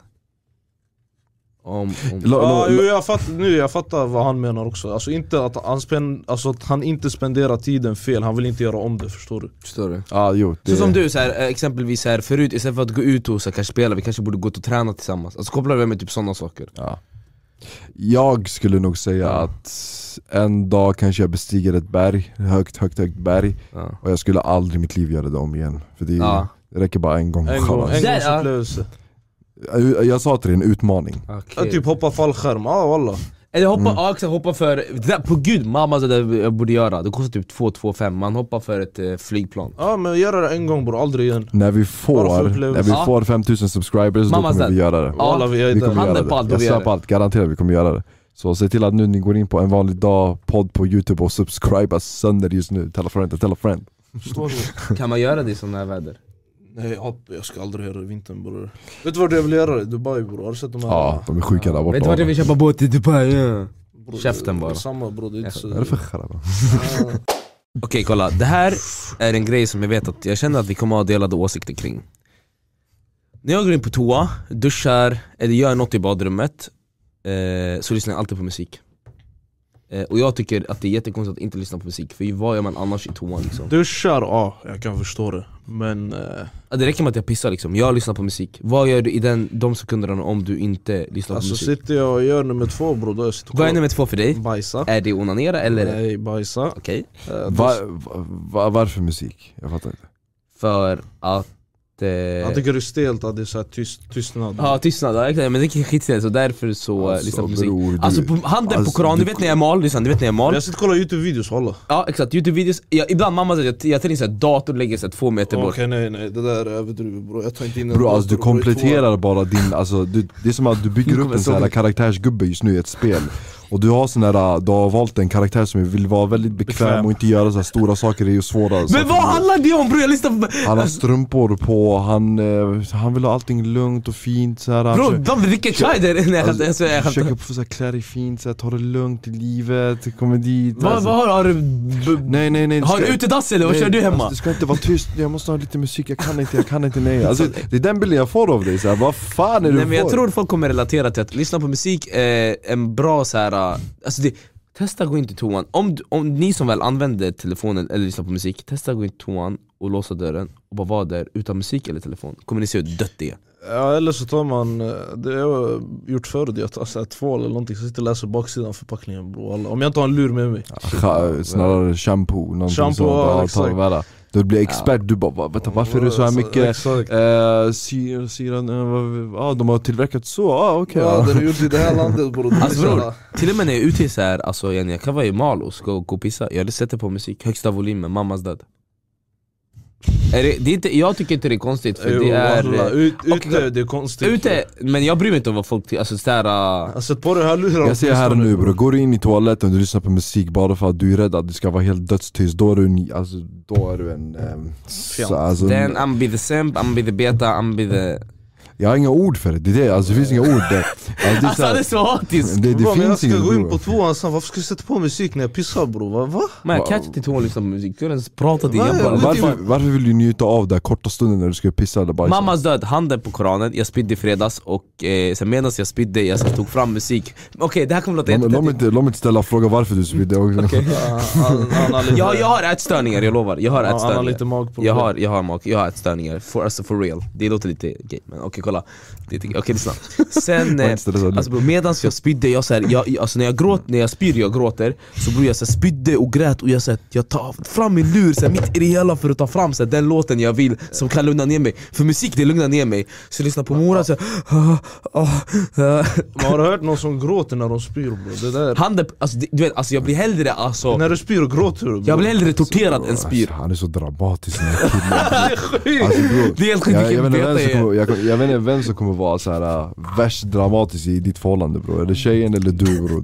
Speaker 1: om, om,
Speaker 2: La-
Speaker 3: Ja,
Speaker 2: la-
Speaker 3: jo,
Speaker 2: la-
Speaker 3: jag, fatt, nu, jag fattar vad han menar också, alltså, inte att han spen, alltså, att han inte spenderar tiden fel, han vill inte göra om det förstår du
Speaker 1: Förstår du?
Speaker 2: Ja, jo, det,
Speaker 1: Så som du, så här, eh, exempelvis så här, förut istället för att gå ut och så här, kanske spela, vi kanske borde gå ut och träna tillsammans Alltså kopplar vi med typ sådana saker
Speaker 2: Ja. Jag skulle nog säga att en dag kanske jag bestiger ett berg, högt, högt, högt berg
Speaker 1: ja.
Speaker 2: och jag skulle aldrig i mitt liv göra det om igen. För det,
Speaker 1: Ja.
Speaker 2: det räcker bara en gång.
Speaker 3: En gång, en
Speaker 1: Där, ja.
Speaker 3: gångsupplevelse
Speaker 2: Jag, jag sa till dig, en utmaning.
Speaker 1: Okej.
Speaker 3: ja. Typ hoppa fallskärm, ah, walla
Speaker 1: Eller hoppa, ja, exakt, hoppa för, det där, på gud mamma det där jag borde göra, det kostar typ 2-2-5, man hoppar för ett eh, flygplan
Speaker 3: Ja men göra det en gång bror, aldrig igen
Speaker 2: När vi
Speaker 3: Bara för
Speaker 2: får,
Speaker 3: upplevelse.
Speaker 2: när vi
Speaker 1: Ja.
Speaker 2: får 5000 subscribers, då
Speaker 1: Mamma
Speaker 2: kommer vi
Speaker 1: said.
Speaker 2: göra det.
Speaker 1: Ja.
Speaker 3: Walla vi är
Speaker 2: Vi kommer
Speaker 3: där
Speaker 1: Handen
Speaker 2: göra
Speaker 1: på allt vad
Speaker 2: det. Jag
Speaker 1: vi
Speaker 2: svär
Speaker 1: gör.
Speaker 2: på allt, garanterat vi kommer göra det. Så se till att nu ni går in på en vanlig dag podd på youtube och subscriba sönder just nu. Tell a friend, tell a friend.
Speaker 3: Förstår du?
Speaker 1: Kan man göra det i sådana här väder?
Speaker 3: Nej jag, jag ska aldrig göra det i vintern bror Vet du vad jag vill göra i Dubai bror? Har du sett de här?
Speaker 2: Ja, de är sjuka där borta.
Speaker 1: Vet du vart jag vill köpa båt i Dubai? Ja.
Speaker 3: Bror,
Speaker 1: Käften bara.
Speaker 3: Samma bror, det är inte så...
Speaker 2: Vad är det för charabba?
Speaker 3: Ja.
Speaker 1: Okej kolla, det här är en grej som jag vet att jag känner att vi kommer ha delade åsikter kring När jag går in på toa, duschar eller gör något i badrummet eh, Så lyssnar jag alltid på musik eh, Och jag tycker att det är jättekonstigt att inte lyssna på musik För vad gör man annars i toan liksom?
Speaker 3: Duschar, ja jag kan förstå det Men eh,
Speaker 1: Ja, Det räcker med att jag pissar liksom, jag lyssnar på musik Vad gör du i den, de sekunderna om du inte lyssnar på
Speaker 3: alltså
Speaker 1: musik?
Speaker 3: sitter jag och gör nummer två bror, då jag sitter och
Speaker 1: Vad är nummer två för dig?
Speaker 3: Bajsa
Speaker 1: Är det onanera eller?
Speaker 3: Nej bajsa
Speaker 1: Okej,
Speaker 3: Eh,
Speaker 2: Va, va, varför musik? Jag fattar inte.
Speaker 1: för att... Eh...
Speaker 3: Han tycker det är stelt att det är så här tyst, tystnad
Speaker 1: Ja tystnad, ja, exakt. men det är skitstelt så därför så
Speaker 2: Alltså,
Speaker 1: alltså, lyssnar på musik
Speaker 2: bror, du-
Speaker 1: Alltså på, handen
Speaker 2: alltså,
Speaker 1: på koran, du
Speaker 2: du-
Speaker 1: vet när jag är mal, lyssna, du vet när jag är
Speaker 3: Men
Speaker 1: mal
Speaker 3: Jag sitter och kollar youtube-videos walla
Speaker 1: Ja exakt, youtube-videos, jag, ibland mamma säger att jag, jag tar in så här dator och lägger så här två meter
Speaker 3: Okej
Speaker 1: bort
Speaker 3: nej nej, det där är överdrivet bror Jag tar inte in en
Speaker 2: Bro, alltså du
Speaker 3: dator, bror, i toan.
Speaker 2: kompletterar bara din, alltså, du, det är som att du bygger upp
Speaker 1: kommer
Speaker 2: en sån här
Speaker 1: sången.
Speaker 2: karaktärsgubbe just nu i ett spel Och du har sån här, äh, du har valt en karaktär som vill vara väldigt bekväm,
Speaker 3: Bekväm.
Speaker 2: och inte göra så här stora saker, det är ju svåra saker.
Speaker 1: Men vad handlar det om bror? Jag lyssnar på...
Speaker 2: Han har strumpor på, han, eh, han vill ha allting lugnt och fint så här. Han
Speaker 1: Bror de
Speaker 2: försöker-
Speaker 1: dricker chai där! Nej jag skämtar, jag skojar, jag skämtar
Speaker 2: Alltså, Försöker få så här, klä dig fint, så här, ta det lugnt i livet, kommer dit
Speaker 1: Vad
Speaker 2: alltså.
Speaker 1: vad har har du? b-
Speaker 2: Nej nej nej du
Speaker 1: Har du
Speaker 2: ska-
Speaker 1: utedass eller vad
Speaker 2: nej,
Speaker 1: kör du hemma?
Speaker 2: Alltså, du ska inte vara tyst, jag måste ha lite musik, jag kan inte, jag kan inte, nej alltså, Det är den bilden jag får av dig, så här, vad fan är du
Speaker 1: Nej men jag
Speaker 2: för?
Speaker 1: tror folk kommer relatera till att lyssna på musik är en bra så här. äh, alltså det, testa gå in till toan. Om, du- om ni som väl använder telefonen eller lyssnar på musik, testa gå in till toan och låsa dörren och bara vara där utan musik eller telefon. Kommer ni se hur dött det är?
Speaker 3: Ja eller så tar man, eh, det har jag gjort förut, jag tar så här tvål eller någonting, så sitter jag och läser baksidan av förpackningen bror alla. Om jag inte har en lur med mig
Speaker 2: Scha- Snarare shampoo, någonting
Speaker 3: Shampoo,
Speaker 2: sånt. Ja,
Speaker 3: ja,
Speaker 2: ta
Speaker 3: exakt.
Speaker 2: det värre. Du blir expert, du bara "Va- vänta varför är det så här
Speaker 3: Alltså,
Speaker 2: mycket
Speaker 3: Exakt.
Speaker 2: eh, syra, syran, eh, vad- ah, de har tillverkat så, ah, okej
Speaker 3: Ja,
Speaker 2: ja.
Speaker 3: den är gjord i det här landet bror Det är
Speaker 1: Alltså,
Speaker 3: så här-
Speaker 1: bror. Till och med när jag är ute så här, alltså Jenny, jag kan vara i Malå och gå, gå och pissa, jag sätter på musik, högsta volymen, mammas död. Är det, det är inte, jag tycker inte det är konstigt för det
Speaker 3: Jo,
Speaker 1: är...
Speaker 3: alla.
Speaker 1: eh,
Speaker 3: Ut,
Speaker 1: och-
Speaker 3: ute, det är konstigt
Speaker 1: Ute, men jag bryr mig inte om vad folk tycker, alltså såhär...
Speaker 3: Alltså, Sätt på dig hörlurar
Speaker 2: Jag ser här och
Speaker 3: åtminstone,
Speaker 2: nu bror, går du in i toaletten och du lyssnar på musik bara för att du är rädd att du ska vara helt dödstyst, då är du en, alltså, då är du en ehm, så, alltså,
Speaker 1: Then I'm be the simp, I'm be the beta, I'm be the...
Speaker 2: Jag har inga ord för det, det, är det. Alltså, det finns inga ord där. Alltså, det,
Speaker 1: Alltså
Speaker 2: är så
Speaker 1: han är
Speaker 2: här,
Speaker 1: så hatisk!
Speaker 2: det, det
Speaker 3: Bra, men jag
Speaker 2: finns
Speaker 3: ska
Speaker 2: inget
Speaker 3: gå in
Speaker 2: bror
Speaker 3: på toan sen, varför ska jag sätta på musik när jag pissar bror? Va? Va?
Speaker 1: Men jag kan inte till hon lyssna på musik, du har ens pratat
Speaker 3: Nej,
Speaker 1: liksom, igen
Speaker 3: jag
Speaker 1: bara
Speaker 3: vet
Speaker 2: varför, varför vill du njuta av den här korta stunden när du ska pissa eller bajsa?
Speaker 1: Mammas död, handen på koranen, jag spydde i fredags och eh, sen medan jag spydde, jag tog fram musik Okej det här kommer låta
Speaker 2: Låt mig- låt mig
Speaker 1: jättetöntigt
Speaker 2: inte, låt mig inte ställa frågan varför du spydde också.
Speaker 3: Ah,
Speaker 1: jag, jag har ätstörningar, jag lovar, jag har
Speaker 3: Ja, han har
Speaker 1: ätstörningar
Speaker 3: lite magproblem
Speaker 1: jag har, jag har mag, jag har ätstörningar, for, alltså for real Det låter lite gay men okej kolla Det är inte- Okej lyssna, sen,
Speaker 2: Var
Speaker 1: eh,
Speaker 2: inte stressad nu.
Speaker 1: alltså, bror, medans jag spydde, jag, så här, jag, jag- alltså, när jag gråter, när jag spyr jag gråter Så bror jag så här, spydde och grät och jag, så här, jag tar fram min lur så här, mitt i det hela för att ta fram så här, den låten jag vill som kan lugna ner mig För musik det lugnar ner mig, så jag lyssnar på Mora så här, ah, ah, ah.
Speaker 3: Men har du hört någon som gråter när de spyr bror? Det där
Speaker 1: Handen, alltså, det- du vet, alltså, jag blir hellre alltså
Speaker 3: När du spyr och gråter du
Speaker 1: jag blir hellre torterad än spyr
Speaker 2: Alltså, han är så dramatisk den här killen. alltså, bro,
Speaker 1: Det är helt sjukt
Speaker 2: jag, jag,
Speaker 1: vilken
Speaker 2: vet inte vem
Speaker 1: beta
Speaker 2: som
Speaker 1: jag är
Speaker 2: kommer, jag, jag vet inte vem som kommer vara så här, äh, värst dramatisk i ditt förhållande bro. Är det tjejen eller du bro?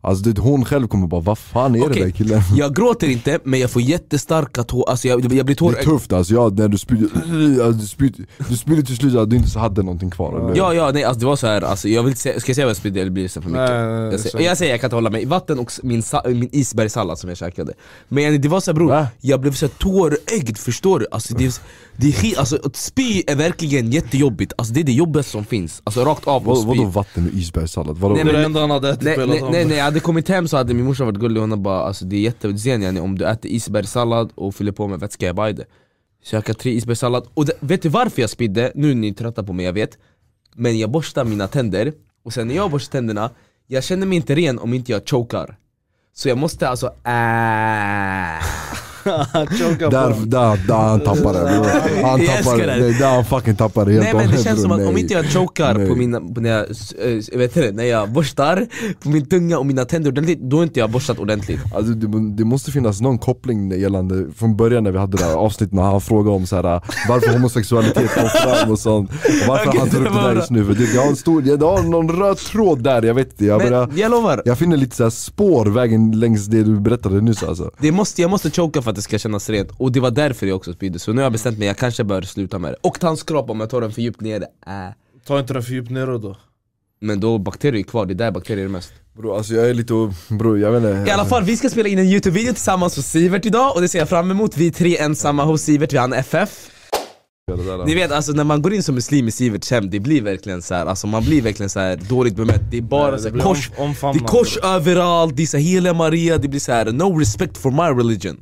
Speaker 2: Alltså det, hon själv kommer bara, vad fan är det
Speaker 1: Okej.
Speaker 2: där killen?
Speaker 1: Jag gråter inte men jag får jättestarka tår, alltså jag, jag blir
Speaker 2: Det är
Speaker 1: tårögd
Speaker 2: tufft alltså, ja, när du spyr, alltså, du spyr, du spyr till slut att du inte så hade någonting kvar eller?
Speaker 1: Ja ja nej alltså det var så här. Alltså, jag vill inte säga, ska jag säga vad jag spydde eller blir det så för mycket?
Speaker 3: Nej, nej, nej,
Speaker 1: jag, säger,
Speaker 3: säg.
Speaker 1: jag säger jag kan inte hålla mig, vatten och s- min, sa- min isbergssallad som jag käkade Men det var så här, bror,
Speaker 2: Va?
Speaker 1: jag blev så här tårögd förstår du? Alltså, det, är- det är, he- alltså att spy är verkligen jättejobbigt, alltså det är det jobbigaste som finns Alltså rakt av och
Speaker 2: Vad, vadå
Speaker 1: spy
Speaker 2: vatten och isbergssallad? Vadå?
Speaker 1: Nej,
Speaker 3: Det är
Speaker 1: men-
Speaker 3: det enda han hade ätit
Speaker 1: Nej,
Speaker 3: på hela
Speaker 1: nej,
Speaker 3: dagen
Speaker 1: nej, nej, jag hade kommit hem så hade min morsa varit gullig, hon hade bara alltså, det är jättesen yani, om du äter isbergssallad och fyller på med vätska, jag bara "Aj, det." Så jag käkade tre isbergssallad, och det, vet du varför jag spydde? Nu är ni trötta på mig, jag vet Men jag borstar mina tänder, och sen när jag borstar tänderna, jag känner mig inte ren om inte jag chokar Så jag måste alltså äh.
Speaker 3: Choka
Speaker 2: Där,
Speaker 3: på.
Speaker 2: där, där han tappar det bror. Han
Speaker 1: Jag älskar
Speaker 2: tappar
Speaker 1: det.
Speaker 2: det, är där han fucking tappar det helt
Speaker 1: Nej men det
Speaker 2: och hållet,
Speaker 1: känns som
Speaker 2: bror.
Speaker 1: att om
Speaker 2: Nej.
Speaker 1: inte jag chokar på
Speaker 2: Nej.
Speaker 1: mina, på mina eh, vet du, det, när jag borstar på min tunga och mina tänder ordentligt, då har inte jag borstat ordentligt.
Speaker 2: Alltså, det, det måste finnas någon koppling gällande, från början när vi hade det här avsnittet när han frågade om så här, varför homosexualitet kom fram och sånt. Och varför
Speaker 1: Okej,
Speaker 2: han tar
Speaker 1: det
Speaker 2: upp det
Speaker 1: var
Speaker 2: där
Speaker 1: bra.
Speaker 2: just nu. För det, jag, har en stor, jag har någon röd tråd där, jag vet inte. Jag, börjar,
Speaker 1: Men jag lovar,
Speaker 2: jag finner lite så här spår vägen längs det du berättade nyss alltså.
Speaker 1: det måste, jag måste choka för att det ska kännas rent och det var därför jag också spydde så nu har jag bestämt mig, jag kanske bör sluta med det. Och tandskrapa om jag tar den för djupt ner, äh.
Speaker 3: Ta inte den för djupt nere då.
Speaker 1: Men då bakterier är kvar, det är där bakterier är mest.
Speaker 2: Bro, alltså jag är lite, bro, jag vet inte.
Speaker 1: I alla fall, vi ska spela in en Youtube-video tillsammans hos Sivert idag och det ser jag fram emot. Vi är tre ensamma hos Sivert, vi har en FF.
Speaker 2: Det där,
Speaker 1: Ni vet alltså när man går in som muslim i Siverts hem, det blir verkligen så här, alltså man blir verkligen så här dåligt bemött. Det är bara
Speaker 3: Nej,
Speaker 1: så
Speaker 3: det
Speaker 1: här,
Speaker 3: blir
Speaker 1: kors,
Speaker 3: om-
Speaker 1: det
Speaker 3: omfamnande.
Speaker 1: är kors överallt, det är så här, heliga Maria, det blir så här no respect for my religion.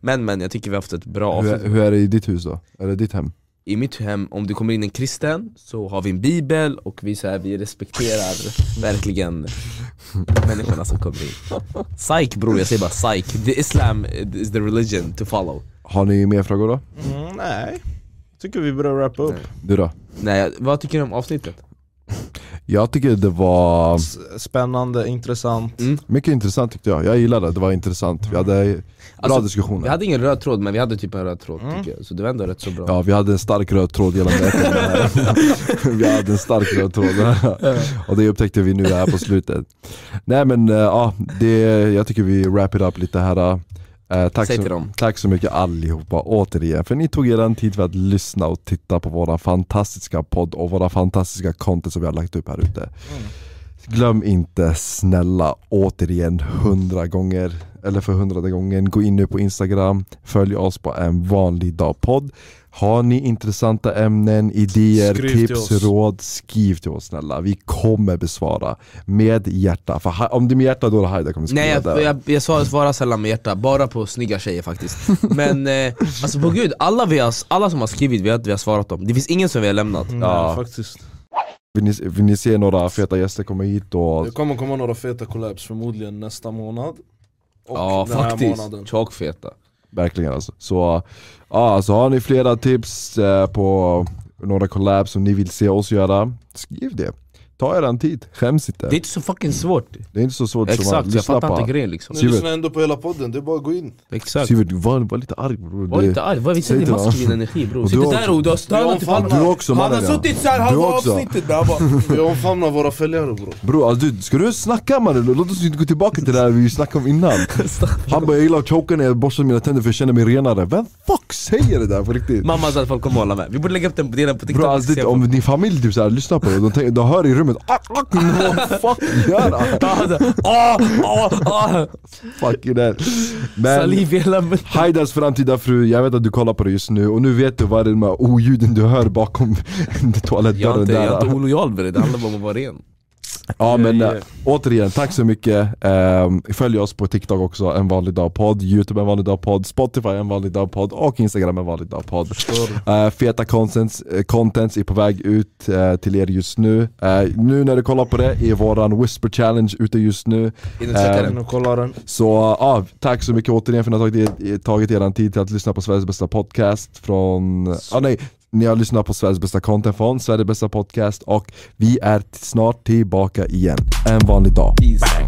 Speaker 1: Men men, jag tycker vi har haft ett bra
Speaker 2: hur,
Speaker 1: avsnitt.
Speaker 2: är- hur är det i ditt hus då? Är det ditt hem?
Speaker 1: I mitt hem, om det kommer in en kristen så har vi en bibel och vi, så här, vi respekterar verkligen människorna som kommer in. Psyk bror, jag säger bara psyk. The Islam is the religion to follow.
Speaker 2: Har ni mer frågor då?
Speaker 3: Mm, nej. Tycker vi börjar wrappa upp.
Speaker 2: Du då?
Speaker 1: Nej, vad tycker du om avsnittet?
Speaker 2: Jag tycker det var
Speaker 3: S- Spännande,
Speaker 1: Mm.
Speaker 3: intressant.
Speaker 2: mycket intressant tyckte jag. Jag gillade det, det var intressant. Vi hade bra
Speaker 1: Alltså,
Speaker 2: diskussioner.
Speaker 1: Vi hade ingen röd tråd men vi hade typ en röd tråd tycker jag, så det var ändå rätt så bra
Speaker 2: Ja, vi hade en stark röd tråd gällande äpplen här. Vi hade en stark röd tråd Och det upptäckte vi nu här på slutet. Nej men eh, ja, det, jag tycker vi wrap it up lite här. Eh, tack,
Speaker 1: Säg
Speaker 2: så,
Speaker 1: till dem.
Speaker 2: tack så mycket allihopa återigen för ni tog er en tid för att lyssna och titta på våra fantastiska podd och våra fantastiska content som vi har lagt upp här ute. Glöm inte snälla återigen hundra gånger, eller för hundrade gången, gå in nu på Instagram, följ oss på en vanlig dag podd. Har ni intressanta ämnen, idéer,
Speaker 3: Skriv till
Speaker 2: tips,
Speaker 3: oss.
Speaker 2: råd, skriv till oss snälla. Vi kommer besvara med hjärta. För ha- om det är med hjärta då är det Haida kommer skriva
Speaker 1: Nej jag,
Speaker 2: där.
Speaker 1: jag, jag, svarar, svarar sällan med hjärta, bara på snygga tjejer faktiskt Men eh, alltså på gud, alla, vi har, alla som har skrivit vi har, vi har svarat dem Det finns ingen som vi har lämnat
Speaker 3: Nej, faktiskt.
Speaker 2: Vill, ni, vill ni se några feta gäster komma hit och
Speaker 3: Det kommer komma några feta collabs förmodligen nästa månad. Och
Speaker 1: Ja
Speaker 3: den här månaden.
Speaker 1: faktiskt, tjockfeta
Speaker 2: Verkligen alltså. Så, ja, så har ni flera tips eh, på några collabs som ni vill se oss göra, skriv det. Ta er en tid, skäms inte.
Speaker 1: Det är inte så fucking svårt
Speaker 2: Det är inte så svårt som man
Speaker 1: Exakt, jag
Speaker 2: lyssnar
Speaker 1: fattar inte
Speaker 2: på.
Speaker 1: grejen liksom
Speaker 2: Ni Sivert. lyssnar
Speaker 3: ändå på hela podden, det är bara att gå in.
Speaker 1: Exakt
Speaker 2: Sivert, var, var lite arg bror.
Speaker 1: Var
Speaker 2: Det-
Speaker 1: inte arg, vad visar
Speaker 2: Säg
Speaker 1: din
Speaker 2: till honom.
Speaker 1: maskulin energi bror?
Speaker 2: Och du
Speaker 1: Sitter
Speaker 2: också.
Speaker 1: där och du har stönat typ alla
Speaker 2: Du också
Speaker 4: Han har
Speaker 2: mannen ja.
Speaker 4: suttit såhär halva
Speaker 2: Du också.
Speaker 4: avsnittet bra bara.
Speaker 3: Vi omfamnar våra följare bror.
Speaker 2: Bror alltså, du, ska du snacka mannen? Låt oss inte gå tillbaka till det här vi snackade om innan. Han bara jag gillar att choka när jag borstar mina tänder för jag känner mig renare. Vem fuck säger det där på riktigt?
Speaker 1: Mamma sa att folk kommer hålla med, vi borde lägga upp den på delen på TikTok
Speaker 2: Bro,
Speaker 1: och
Speaker 2: alltså,
Speaker 1: se
Speaker 2: det,
Speaker 1: folk-
Speaker 2: om din familj typ såhär, lyssnar på det, de, tänker, de hör i rummet ah, ah, Vad fuck gör han?
Speaker 1: Ja, alltså, ah, ah, ah.
Speaker 2: Fucking hell. Men
Speaker 1: Saliv i hela munnen
Speaker 2: Haidas framtida fru, jag vet att du kollar på det just nu och nu vet du vad det är med oljuden du hör bakom
Speaker 1: Jag är
Speaker 2: toalettdörren
Speaker 1: inte, jag är inte
Speaker 2: där.
Speaker 1: olojal med det, det handlar bara om att vara ren
Speaker 2: Ja men
Speaker 3: Yeah,
Speaker 2: äh, återigen, tack så mycket. Ehm, följ oss på TikTok också, en vanlig dag podd, Youtube en vanlig dag podd, Spotify en vanlig dag podd och Instagram en vanlig dag podd. Eh, feta contents, eh, contents är på väg ut eh, till er just nu. Eh, nu när du kollar på det är våran whisper challenge ute just nu.
Speaker 1: In och checka
Speaker 2: Eh,
Speaker 1: den.
Speaker 3: In och kolla den.
Speaker 2: Så ja, tack så mycket återigen för att ni har tagit, er- tagit er tid till att lyssna på Sveriges bästa podcast från... Ah, nej, ni har lyssnat på Sveriges bästa content från Sveriges bästa podcast och vi är t- snart tillbaka igen. En vanlig dag.
Speaker 1: Peace.